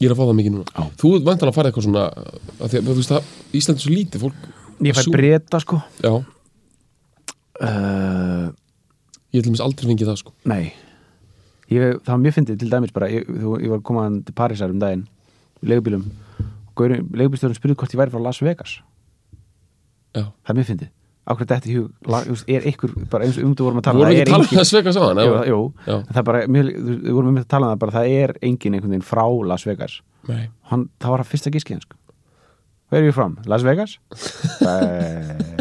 [SPEAKER 3] ég er að fá það mikið núna
[SPEAKER 2] Já.
[SPEAKER 3] þú vantan að fara eitthvað svona að því, að, þú veist, það, Ísland er svo lítið fólk
[SPEAKER 2] ég fær
[SPEAKER 3] Sú-
[SPEAKER 2] breyta sko
[SPEAKER 3] já,
[SPEAKER 2] uh,
[SPEAKER 3] ég til mér aldrei fengið það sko
[SPEAKER 2] Nei ég, Það var mjög fyndið til dæmis bara ég, þú, ég var komaðan til Parísar um daginn í leigubílum leigubílstjórun spurði hvort ég væri frá Las Vegas
[SPEAKER 3] já.
[SPEAKER 2] Það er mjög fyndið Ákveð þetta í hug, la, just, er ykkur bara eins og um þú vorum að tala
[SPEAKER 3] voru
[SPEAKER 2] það
[SPEAKER 3] ekki
[SPEAKER 2] er
[SPEAKER 3] að tala um
[SPEAKER 2] engin-
[SPEAKER 3] það sveka saman
[SPEAKER 2] Jú, jú,
[SPEAKER 3] Já.
[SPEAKER 2] en það er bara, mjög, þú, við vorum um að tala um það bara það er engin einhvern veginn frá Las Vegas
[SPEAKER 3] Nei.
[SPEAKER 2] Hann, það var að fyrsta gískið sko. Where are you from? Las Vegas? uh,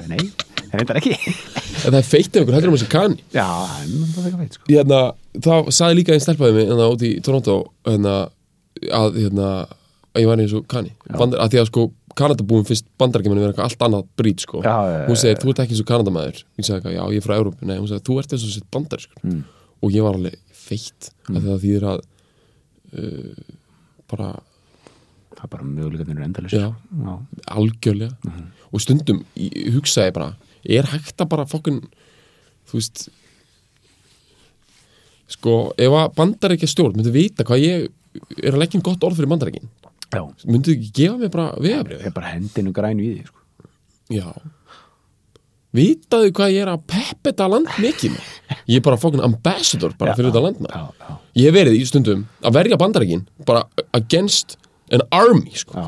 [SPEAKER 2] nei, það reyndar ekki
[SPEAKER 3] en það er feitt ef ykkur heldur um þessi kanni
[SPEAKER 2] Já, það er nú bara eitthvað veit sko.
[SPEAKER 3] hérna, þá sagði líka einn stelpaði mig hérna út í Toronto hérna, að hérna að ég var eins og kanni Bandar, að því að sko Kanadabúin finnst bandarækjumenni vera eitthvað allt annað brýt sko
[SPEAKER 2] Já, já, já,
[SPEAKER 3] hún segir, þú ert ekki eins og Kanadamæður ég sagði eitthvað, já ég er frá Európu, nei, hún segir, þú ert eins og sitt bandarískur mm. og ég var alveg feitt mm. að það þýðir að uh, bara
[SPEAKER 2] Það er bara möguleikarnir endalist
[SPEAKER 3] Já. algjörlega
[SPEAKER 2] Mhm.
[SPEAKER 3] og stundum í- hugsaði ég bara er hægt að bara fokkun þú veist sko, ef að bandarækja stjórn myndi vita hvað ég er að leggja inn gott orð fyrir bandarækin
[SPEAKER 2] Já.
[SPEAKER 3] myndi ekki gefa mér bara vegabrið
[SPEAKER 2] er bara hendinu grænu í því sko.
[SPEAKER 3] já vitaðu hvað ég er að peppa þetta land mikið með ég er bara fokkun ambassador bara fyrir þetta land með
[SPEAKER 2] já, já,
[SPEAKER 3] ég hef verið í stundum að verja bandarækin bara against an army sko
[SPEAKER 2] já,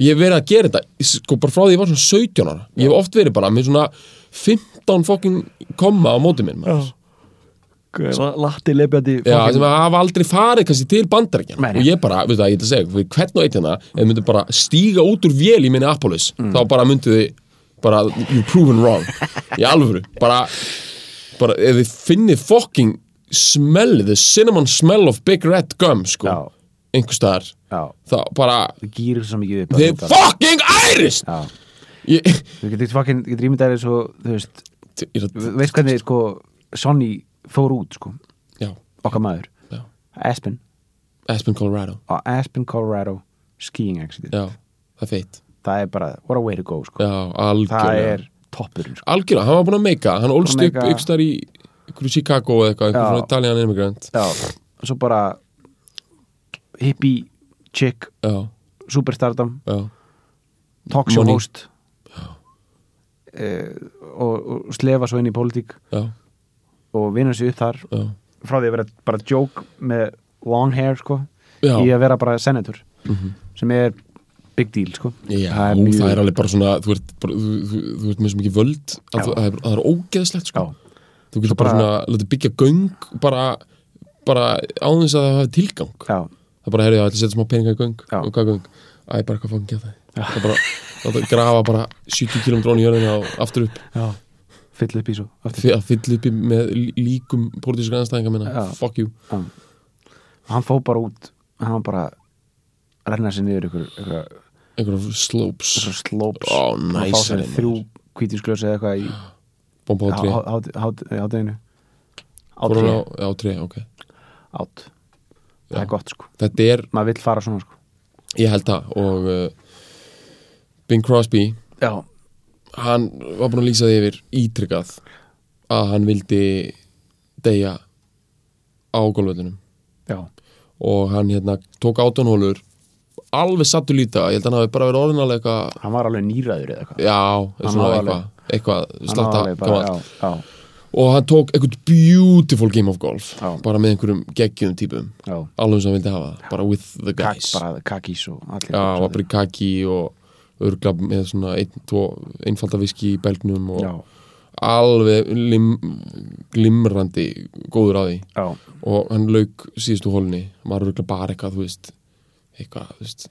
[SPEAKER 3] ég hef verið að gera þetta sko bara frá því ég var svona 17 ára ég hef oft verið bara með svona 15 fucking komma á móti minn maður.
[SPEAKER 2] Latti lefjandi
[SPEAKER 3] já, sem að hafa aldrei farið kannski til bandarækjan
[SPEAKER 2] Nei, nei.
[SPEAKER 3] og ég bara, veistu það, ég ætla að segja ykkur, fyrir hvern og eitt hérna, ef myndu bara stíga út úr vél í minni Apollos,
[SPEAKER 2] Mm.
[SPEAKER 3] þá bara myndu þið bara, you're proven wrong í alvöru, bara bara, ef þið finnið fucking smell, the cinnamon smell of big red gum, sko,
[SPEAKER 2] Já.
[SPEAKER 3] einhver staðar
[SPEAKER 2] Já,
[SPEAKER 3] þá bara,
[SPEAKER 2] þú gýrir svo mikið upp
[SPEAKER 3] þið fucking ærist
[SPEAKER 2] Já,
[SPEAKER 3] ég,
[SPEAKER 2] þú getur fucking, getur ímyndar eins og þú veist,
[SPEAKER 3] ég er að
[SPEAKER 2] þú veist hvernig sko Sonny fór út sko,
[SPEAKER 3] Já,
[SPEAKER 2] okkar maður
[SPEAKER 3] já.
[SPEAKER 2] Aspen,
[SPEAKER 3] Aspen, Colorado
[SPEAKER 2] á Aspen, Colorado skiing accident,
[SPEAKER 3] Já, það er feitt
[SPEAKER 2] það er bara what a way to go sko,
[SPEAKER 3] Já,
[SPEAKER 2] það
[SPEAKER 3] algjörlega
[SPEAKER 2] er toppurinn sko,
[SPEAKER 3] Algjörlega, hann var búin að meika Hann ólst
[SPEAKER 2] Búinn að
[SPEAKER 3] upp
[SPEAKER 2] meika.
[SPEAKER 3] ykkur starf í ykkur í Chicago eða
[SPEAKER 2] Já.
[SPEAKER 3] eitthvað Ykkur frá Italian immigrant
[SPEAKER 2] já, svo bara hippie, chick
[SPEAKER 3] Já,
[SPEAKER 2] superstardom
[SPEAKER 3] já,
[SPEAKER 2] talkshow
[SPEAKER 3] Money.
[SPEAKER 2] host uh, og, og slefa svo inn í pólitík
[SPEAKER 3] já,
[SPEAKER 2] og vinna sér upp þar
[SPEAKER 3] já
[SPEAKER 2] frá því að vera bara joke með long hair sko
[SPEAKER 3] Já. Mhm.
[SPEAKER 2] í að vera bara senator sem er big deal sko
[SPEAKER 3] Já, það er, alveg bara svona Þú ert, bara, þú, þú, þú ert með svo mikið völd að
[SPEAKER 2] Já.
[SPEAKER 3] þú, það, er, það er ógeðslegt sko
[SPEAKER 2] já,
[SPEAKER 3] Þú getur
[SPEAKER 2] Svo
[SPEAKER 3] bara,
[SPEAKER 2] bara-
[SPEAKER 3] svona, látið byggja göng bara, bara áðins að það hafi tilgang
[SPEAKER 2] já,
[SPEAKER 3] Það bara, herrðu, ég ætla að setja smá peninga í göng
[SPEAKER 2] Já.
[SPEAKER 3] Og hvað göng? Æ, bara hvað fangja það Það er bara, láta grafa bara 70 km í jörðina og aftur upp
[SPEAKER 2] já. fyll upp í svo aftur.
[SPEAKER 3] F- að fylla upp í með lí- líkum pólitíska anstæðinga minna,
[SPEAKER 2] Já.
[SPEAKER 3] fuck you
[SPEAKER 2] Já. hann fó bara út hann var bara að renna sér niður ykkur, ykkur,
[SPEAKER 3] einhverja slopes,
[SPEAKER 2] ykkur slopes
[SPEAKER 3] Ó,
[SPEAKER 2] Hann fá sér
[SPEAKER 3] næsari, maður.
[SPEAKER 2] þrjú kvítinsglösi eða eitthvað í
[SPEAKER 3] bomba á tré
[SPEAKER 2] hátæðinu
[SPEAKER 3] Fór hún á,
[SPEAKER 2] átæðinu
[SPEAKER 3] á tré, ok
[SPEAKER 2] átt það er gott sko
[SPEAKER 3] þetta er,
[SPEAKER 2] maður vill fara svona sko
[SPEAKER 3] ég held það og uh, Bing Crosby
[SPEAKER 2] já,
[SPEAKER 3] hann var búin að lýsa því yfir ítrykkað að hann vildi deyja á gólföldunum
[SPEAKER 2] já,
[SPEAKER 3] og hann hérna tók átónhólur alveg sattu líta, ég held að hann hafi bara verið orðinlega eitthvað,
[SPEAKER 2] hann var alveg nýræður eða eitthvað
[SPEAKER 3] já,
[SPEAKER 2] Hann
[SPEAKER 3] svona
[SPEAKER 2] var
[SPEAKER 3] eitthvað
[SPEAKER 2] alveg-
[SPEAKER 3] eitthvað,
[SPEAKER 2] Hann var
[SPEAKER 3] slatta,
[SPEAKER 2] alveg bara,
[SPEAKER 3] gamall
[SPEAKER 2] já,
[SPEAKER 3] og hann tók eitthvað beautiful game of golf
[SPEAKER 2] Já.
[SPEAKER 3] bara með einhverjum geggjum típum
[SPEAKER 2] já, já
[SPEAKER 3] alveg eins og hann vildi hafa það, bara with the
[SPEAKER 2] Kak,
[SPEAKER 3] guys
[SPEAKER 2] bara kakís og allir
[SPEAKER 3] já, og
[SPEAKER 2] allir-
[SPEAKER 3] bara í kaki og örgla með svona ein, tvo, einfalda viski í belgnum og
[SPEAKER 2] já,
[SPEAKER 3] alveg lim, glimrandi góður á því
[SPEAKER 2] já,
[SPEAKER 3] og hann lauk síðustu hólni maður örgla bara eitthvað, þú veist eitthvað, þú veist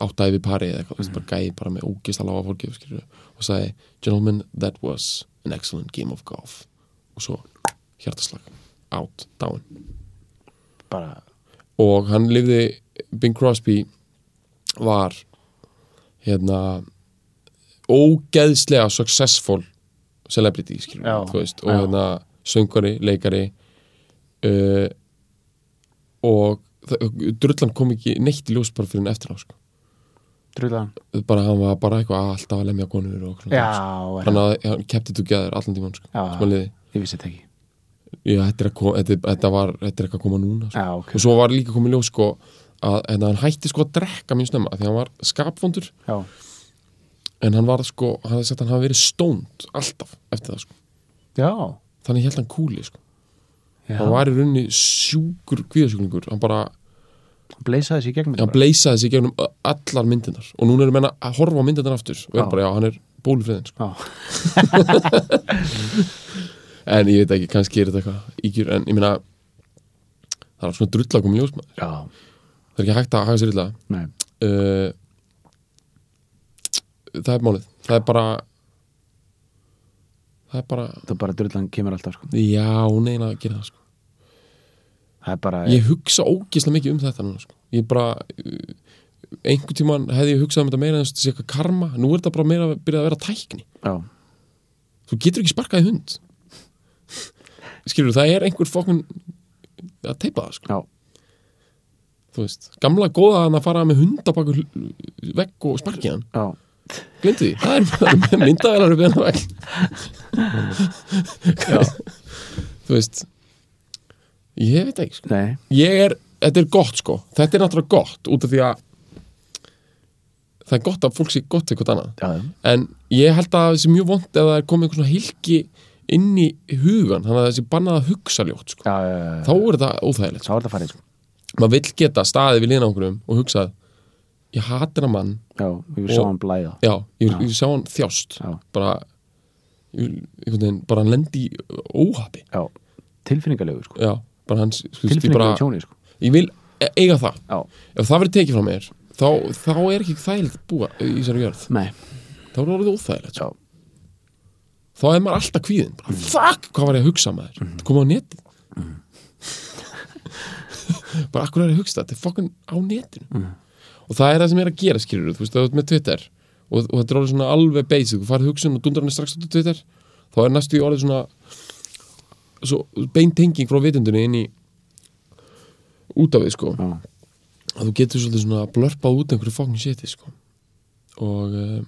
[SPEAKER 3] áttæði við pari eða eitthvað, þú veist, bara gæði bara með ógist að lága fólki skilurðu, og sagði, gentlemen, that was an excellent game of golf og svo hjartaslag out, down
[SPEAKER 2] bara
[SPEAKER 3] og hann lifði Bing Crosby var hérna ógeðslega successful celebrity skilur,
[SPEAKER 2] Já,
[SPEAKER 3] þú veist, og
[SPEAKER 2] já.
[SPEAKER 3] hérna söngari, leikari uh, og það- drullan kom ekki neitt í ljós bara fyrir en eftir á sko.
[SPEAKER 2] Trullan
[SPEAKER 3] bara hann var bara eitthvað "Ah, alltaf að lemja konur og svona
[SPEAKER 2] Já,
[SPEAKER 3] hann, að, hann keppti together allan tímann sko,
[SPEAKER 2] Já.
[SPEAKER 3] sem að liði
[SPEAKER 2] ég vissi þetta ekki
[SPEAKER 3] Já, þetta er, að koma, þetta, þetta, var, þetta er eitthvað að koma núna sko.
[SPEAKER 2] Já, ok
[SPEAKER 3] og svo var líka komið ljós sko, að, en hann hætti sko að drekka mjög snemma af því hann var skapfondur
[SPEAKER 2] Já,
[SPEAKER 3] en hann var sko, hann hefði sagt að hann hafi verið stónd alltaf eftir það sko
[SPEAKER 2] já,
[SPEAKER 3] þannig held hann kúli sko
[SPEAKER 2] já.
[SPEAKER 3] hann var í rauninni sjúkur kvíðasjúklingur hann bara,
[SPEAKER 2] Hann bleysaði sér í gegnum þetta
[SPEAKER 3] hann bleysaði sig gegnum ö- allar myndinar og núna erum menna að horfa á myndinar aftur og er
[SPEAKER 2] Já.
[SPEAKER 3] bara, já, hann er bólufriðin sko.
[SPEAKER 2] bara.
[SPEAKER 3] en ég veit ekki, kannski er þetta eitthvað ígjur, en ég meina það er svona drull að koma í ljós maður.
[SPEAKER 2] Já, já,
[SPEAKER 3] það er ekki hægt að haga sér illa
[SPEAKER 2] nei
[SPEAKER 3] uh, það er málið það er bara það er bara
[SPEAKER 2] Það er bara drullan kemur alltaf sko
[SPEAKER 3] já, neina að gera það sko.
[SPEAKER 2] Það er bara
[SPEAKER 3] ég hugsa ógislega mikið um þetta núna sko. ég bara uh, einhvern tíman hefði ég hugsað um þetta meira en þessi eitthvað karma, nú er þetta bara meira að byrja að vera tækni,
[SPEAKER 2] Já,
[SPEAKER 3] þú getur ekki sparkað í hund skilur, það er einhver fokkun að teipa það sko,
[SPEAKER 2] já,
[SPEAKER 3] þú veist gamla góða að fara með hundabakur vegg og sparkið hann
[SPEAKER 2] já
[SPEAKER 3] Glindu því, það er- það er myndavelar upp hérna vegg Þú veist Ég veit ekki sko.
[SPEAKER 2] Nei,
[SPEAKER 3] Ég er, þetta er gott sko Þetta er náttúrulega gott út af því að Það er gott að fólk sé gott eitthvað annað
[SPEAKER 2] já, já,
[SPEAKER 3] En ég held að það sé mjög vond Ef það er komið einhver svona hilki inn í hugan Þannig að það sé bannað að hugsa ljótt sko.
[SPEAKER 2] já, já, já, já.
[SPEAKER 3] Þá er þetta óþægilegt sko.
[SPEAKER 2] Sá er þetta farið sko
[SPEAKER 3] Maður vill geta staðið við liðan á einhverjum Og hugsað, ég hatir að mann
[SPEAKER 2] Já, ég vil sjá
[SPEAKER 3] Og-
[SPEAKER 2] hann blæða
[SPEAKER 3] Já, ég,
[SPEAKER 2] Já.
[SPEAKER 3] ég sá hann þjást
[SPEAKER 2] Já.
[SPEAKER 3] bara ég vil- einhvern veginn, bara hann lendi í óhafi
[SPEAKER 2] Já, tilfinningalegu sko
[SPEAKER 3] já, bara hans ég,
[SPEAKER 2] Tilfinningalegu
[SPEAKER 3] bara,
[SPEAKER 2] tjóni sko
[SPEAKER 3] ég vil e- eiga það
[SPEAKER 2] Já,
[SPEAKER 3] ef það verður tekið frá mér þá, þá er ekki þægilegt að búa í þessari jörð
[SPEAKER 2] nei,
[SPEAKER 3] þá er orðið
[SPEAKER 2] já,
[SPEAKER 3] óþægilegt sko. þá er maður alltaf kvíðin bara, fuck, hvað var ég að hugsa maður mm koma á netið bara akkur er ég að hugsa þetta er fokkun á netinu og það er það sem er að gera skilur þú veist, það er með Twitter og, og þetta er orðið svona alveg basic þú farið um hugsun og dundar hann strax út á Twitter þá er næstu í orðið svona svo beintenging frá vitundunni inn í út af við sko
[SPEAKER 2] já,
[SPEAKER 3] að þú getur svolítið svona að blörpa út einhverju fókn shiti sko og uh,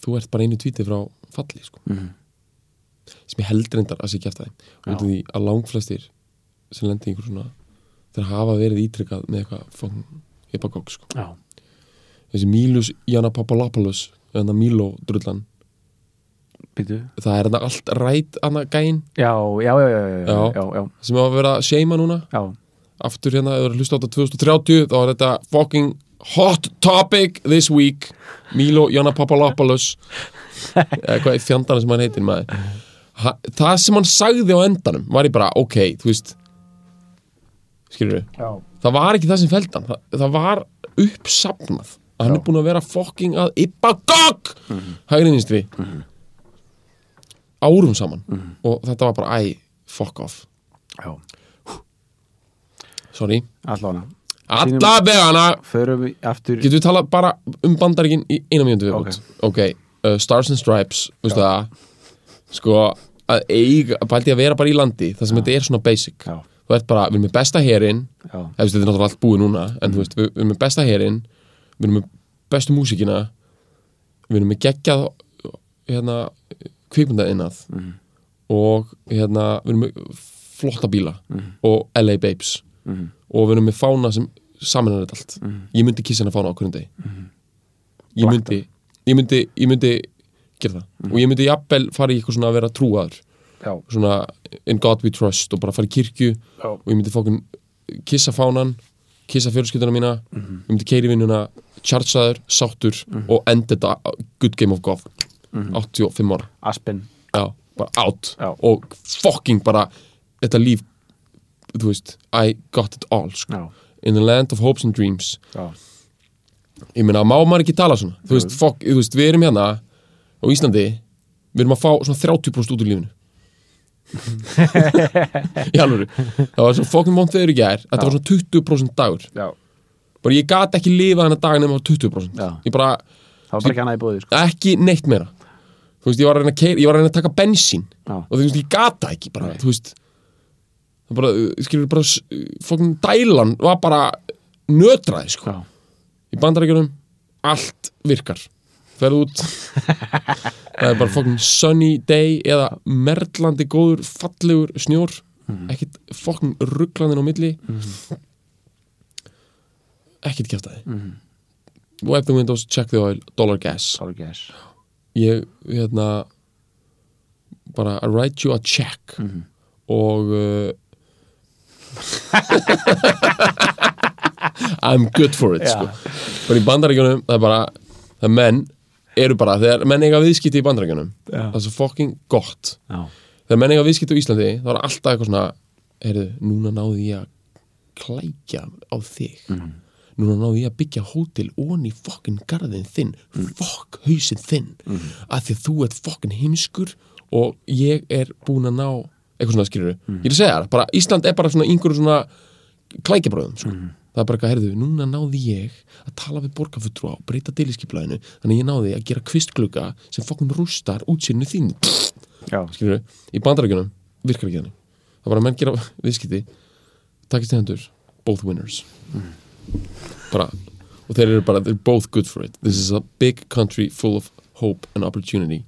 [SPEAKER 3] þú ert bara einu tvíti frá falli sko
[SPEAKER 2] Mhm.
[SPEAKER 3] sem ég held reyndar að sé kæft aðeim út af
[SPEAKER 2] Já.
[SPEAKER 3] því að langflestir sem lendi einhverju svona þeir hafa verið ítrykkað með eitthvað fókn epagók sko
[SPEAKER 2] já
[SPEAKER 3] þessi Mílus Jana Papalopoulos þannig að Míló drullan
[SPEAKER 2] Býtu
[SPEAKER 3] það er þetta allt ræt annað gæinn
[SPEAKER 2] Já, já, já, já, já,
[SPEAKER 3] Já.
[SPEAKER 2] já, já,
[SPEAKER 3] sem hafa verið að seima núna
[SPEAKER 2] já.
[SPEAKER 3] aftur hérna, ef þú eru að hlusta á þetta 2030 þá er þetta fucking hot topic this week Milo Jana Papalopoulos eða hvað er fjandana sem hann heitir maður ha, það sem hann sagði á endanum var ég bara, ok, þú veist skilur við
[SPEAKER 2] já.
[SPEAKER 3] það var ekki það sem feld hann það, það var uppsafnað að hann
[SPEAKER 2] Já. Mhm.
[SPEAKER 3] er búin að vera fucking að yppa gogg mm -hmm. hægri vinstri árum saman
[SPEAKER 2] Mhm.
[SPEAKER 3] og þetta var bara, æ, fuck off
[SPEAKER 2] já.
[SPEAKER 3] sorry,
[SPEAKER 2] Allána Sýnum-
[SPEAKER 3] alla vegana
[SPEAKER 2] Förum við aftur
[SPEAKER 3] Getum við talað bara um bandaríkin í eina mínútu viðbútt? Ok, uh, Stars and Stripes, veistu það, sko, að eiga, að bælti að vera bara í landi, það sem þetta er svona basic.
[SPEAKER 2] Já,
[SPEAKER 3] Þú ert bara, við erum með besta herinn,
[SPEAKER 2] já,
[SPEAKER 3] eða þetta er náttúrulega allt búið núna, en þú veist, við, við erum með besta herinn, við erum með bestu músíkina, við erum með geggjað, hérna, kvikmyndainnað og, hérna, við erum með flotta bíla og LA Babes
[SPEAKER 2] mhm,
[SPEAKER 3] og við erum með fána sem saminar þetta allt ég myndi kissa hennar fána á hverjum degi ég myndi ég myndi, ég myndi gera það og ég myndi jafnvel fara í eitthvað svona að vera trúaður
[SPEAKER 2] já,
[SPEAKER 3] svona in God we trust og bara fara í kirkju
[SPEAKER 2] já,
[SPEAKER 3] og ég myndi fókun kissa fánan kissa fjölskylduna mína ég myndi keiri vinnuna tjartsaður, sáttur og enda þetta á good game of golf 85 ára
[SPEAKER 2] Aspen
[SPEAKER 3] já, bara out
[SPEAKER 2] Já.
[SPEAKER 3] og fucking bara þetta líf þú veist, I got it all sko
[SPEAKER 2] Já,
[SPEAKER 3] in the land of hopes and dreams
[SPEAKER 2] já,
[SPEAKER 3] ég meina, má maður ekki tala svona þú veist, fokk, þú veist, við erum hérna á Íslandi, við erum að fá svona 30% út úr lífinu í alvöru það var svona fokkin vond þegar í gær þetta var svona 20% dagur
[SPEAKER 2] já
[SPEAKER 3] bara ég gat ekki lifa þennan dag nema á 20%
[SPEAKER 2] Já.
[SPEAKER 3] ég bara,
[SPEAKER 2] Það var bara ekki annað í búið sko
[SPEAKER 3] ekki neitt meira þú veist, ég var að reyna að, keir, ég var að, reyna að taka bensín
[SPEAKER 2] Já.
[SPEAKER 3] og þú veist, ég gata ekki bara, þú veist það bara, uh, skilur bara fokkin dælan var bara nötraði, sko
[SPEAKER 2] Já,
[SPEAKER 3] í bandarækjunum allt virkar ferð út það er bara fokkin sunny day eða merlandi góður fallegur snjór ekkit fokkin rugglandin á milli ekkit kjæftæði wipe the windows, check the oil, dollar gas
[SPEAKER 2] Solid gas
[SPEAKER 3] ég hérna bara I write you a check og uh, I'm good for it sko. bara í bandaríkjunum það er bara, það er menn eru bara, þegar menn eiga viðskipti í bandaríkjunum
[SPEAKER 2] Já.
[SPEAKER 3] það er svo fucking gott
[SPEAKER 2] Já,
[SPEAKER 3] þegar menn eiga viðskipti á Íslandi þá er alltaf eitthvað svona heyrðu, núna náði ég að klækja á þig
[SPEAKER 2] Mhm.
[SPEAKER 3] núna náði ég að byggja hótel ón í fokkin garðin þinn fokk hausinn þinn mm. að því að þú ert fokkin heimskur og ég er búin að ná eitthvað svona skilur ég er að segja það, bara Ísland er bara svona yngur svona klækjabröðum sko. það er bara eitthvað, heyrðu, núna náði ég að tala við borgarfutrú á, breyta deiliskeiplæðinu þannig að ég náði að gera kvistglugga sem fokkin rústar útsýrnu þínu
[SPEAKER 2] já,
[SPEAKER 3] skilur í bandarækjunum virkar ekki þannig það er bara að menn gera viðskipti takist í hendur, both winners bara og þeir eru bara, they're both good for it this is a big country full of hope and opportunity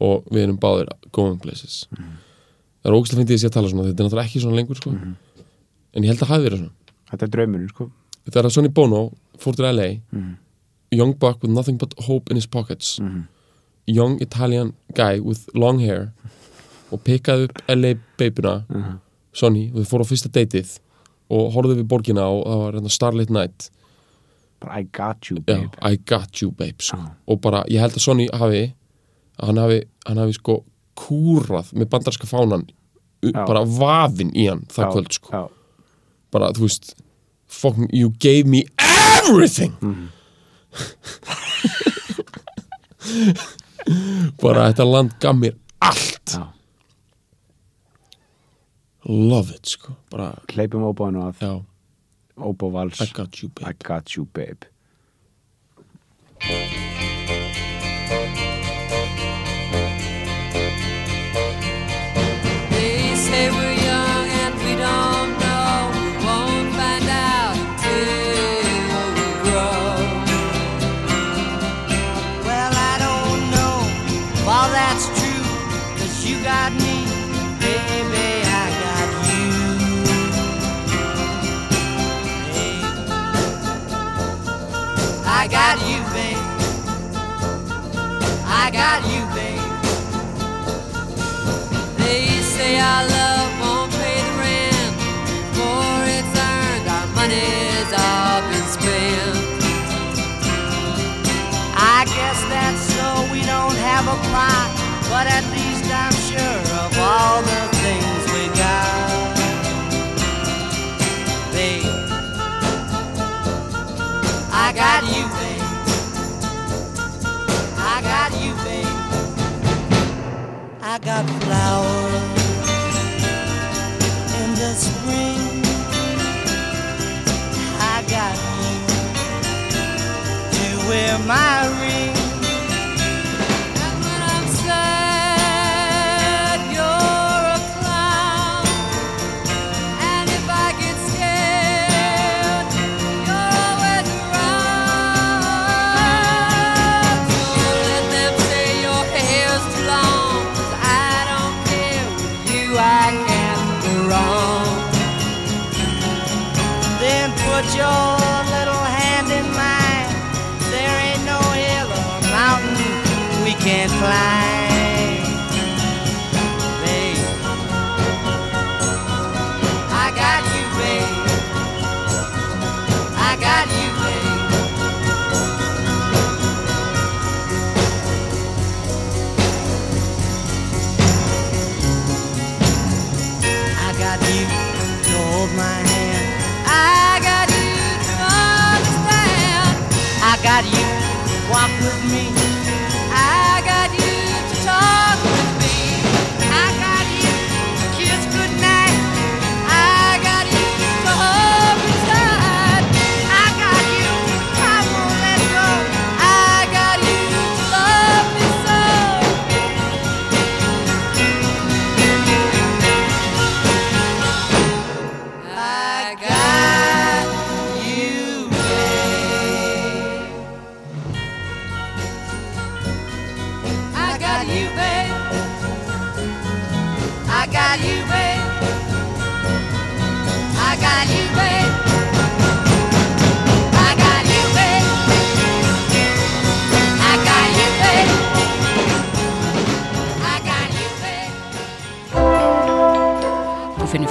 [SPEAKER 3] og við erum báðir going places það er ógæslega fyndið að sé að tala svona þetta er náttúrulega ekki svona lengur sko en ég held að hafi verið svona
[SPEAKER 2] þetta er draumurinn sko
[SPEAKER 3] þetta er að Sonny Bono fór til LA
[SPEAKER 2] Mhm.
[SPEAKER 3] young buck with nothing but hope in his pockets young Italian guy with long hair og pikkaði upp LA babyna
[SPEAKER 2] Mhm.
[SPEAKER 3] Sonny og þau fóru á fyrsta deytið og horfðu við borgina og það var hérna, Starlit Night
[SPEAKER 2] bara I got you
[SPEAKER 3] Já,
[SPEAKER 2] babe Ah.
[SPEAKER 3] I got you babe sko.
[SPEAKER 2] Já.
[SPEAKER 3] og bara ég held að Sonny hafi að hann hafi, hann hafi sko kúrað með bandarska fánan u-
[SPEAKER 2] Já.
[SPEAKER 3] bara vafinn í hann það
[SPEAKER 2] Já,
[SPEAKER 3] kvöld sko
[SPEAKER 2] já,
[SPEAKER 3] bara, þú veist fucking, you gave me everything bara, þetta land gaf mér allt
[SPEAKER 2] Já.
[SPEAKER 3] love it, sko bara,
[SPEAKER 2] hleypum óbáðinu að
[SPEAKER 3] já,
[SPEAKER 2] óbáð vals
[SPEAKER 3] I got you, babe
[SPEAKER 2] I got you babe
[SPEAKER 4] They say we're young and we don't know. We won't find out until we grow. Well, I don't know if all that's true. Cause you got me, baby, I got you. Babe. I got you, babe. I got you, babe. They say our love won't pay the rent for it's earned. Our money's all been spent. I guess that's so we don't have a plot, but at least I'm sure of all the things we got. Babe, I got you, babe. I got you, babe. I got flowers in the spring. I got you to wear my ring. And when I'm sad, you're a clown. And if I get scared, you're always around. Don't let them say your hair's too long. 'cause I don't care with you, I can't go wrong. Then put your little hand in mine. There ain't no hill or mountain we can't climb. Babe. I got you, babe. I got you, babe. I got you to hold my hand. I got you to understand. I got you to walk with me. I got you to talk with me. I got you to kiss goodnight. I got you to hold me tight. I got you, I won't let go. I got you to love me so. I got you, babe.
[SPEAKER 1] og finnum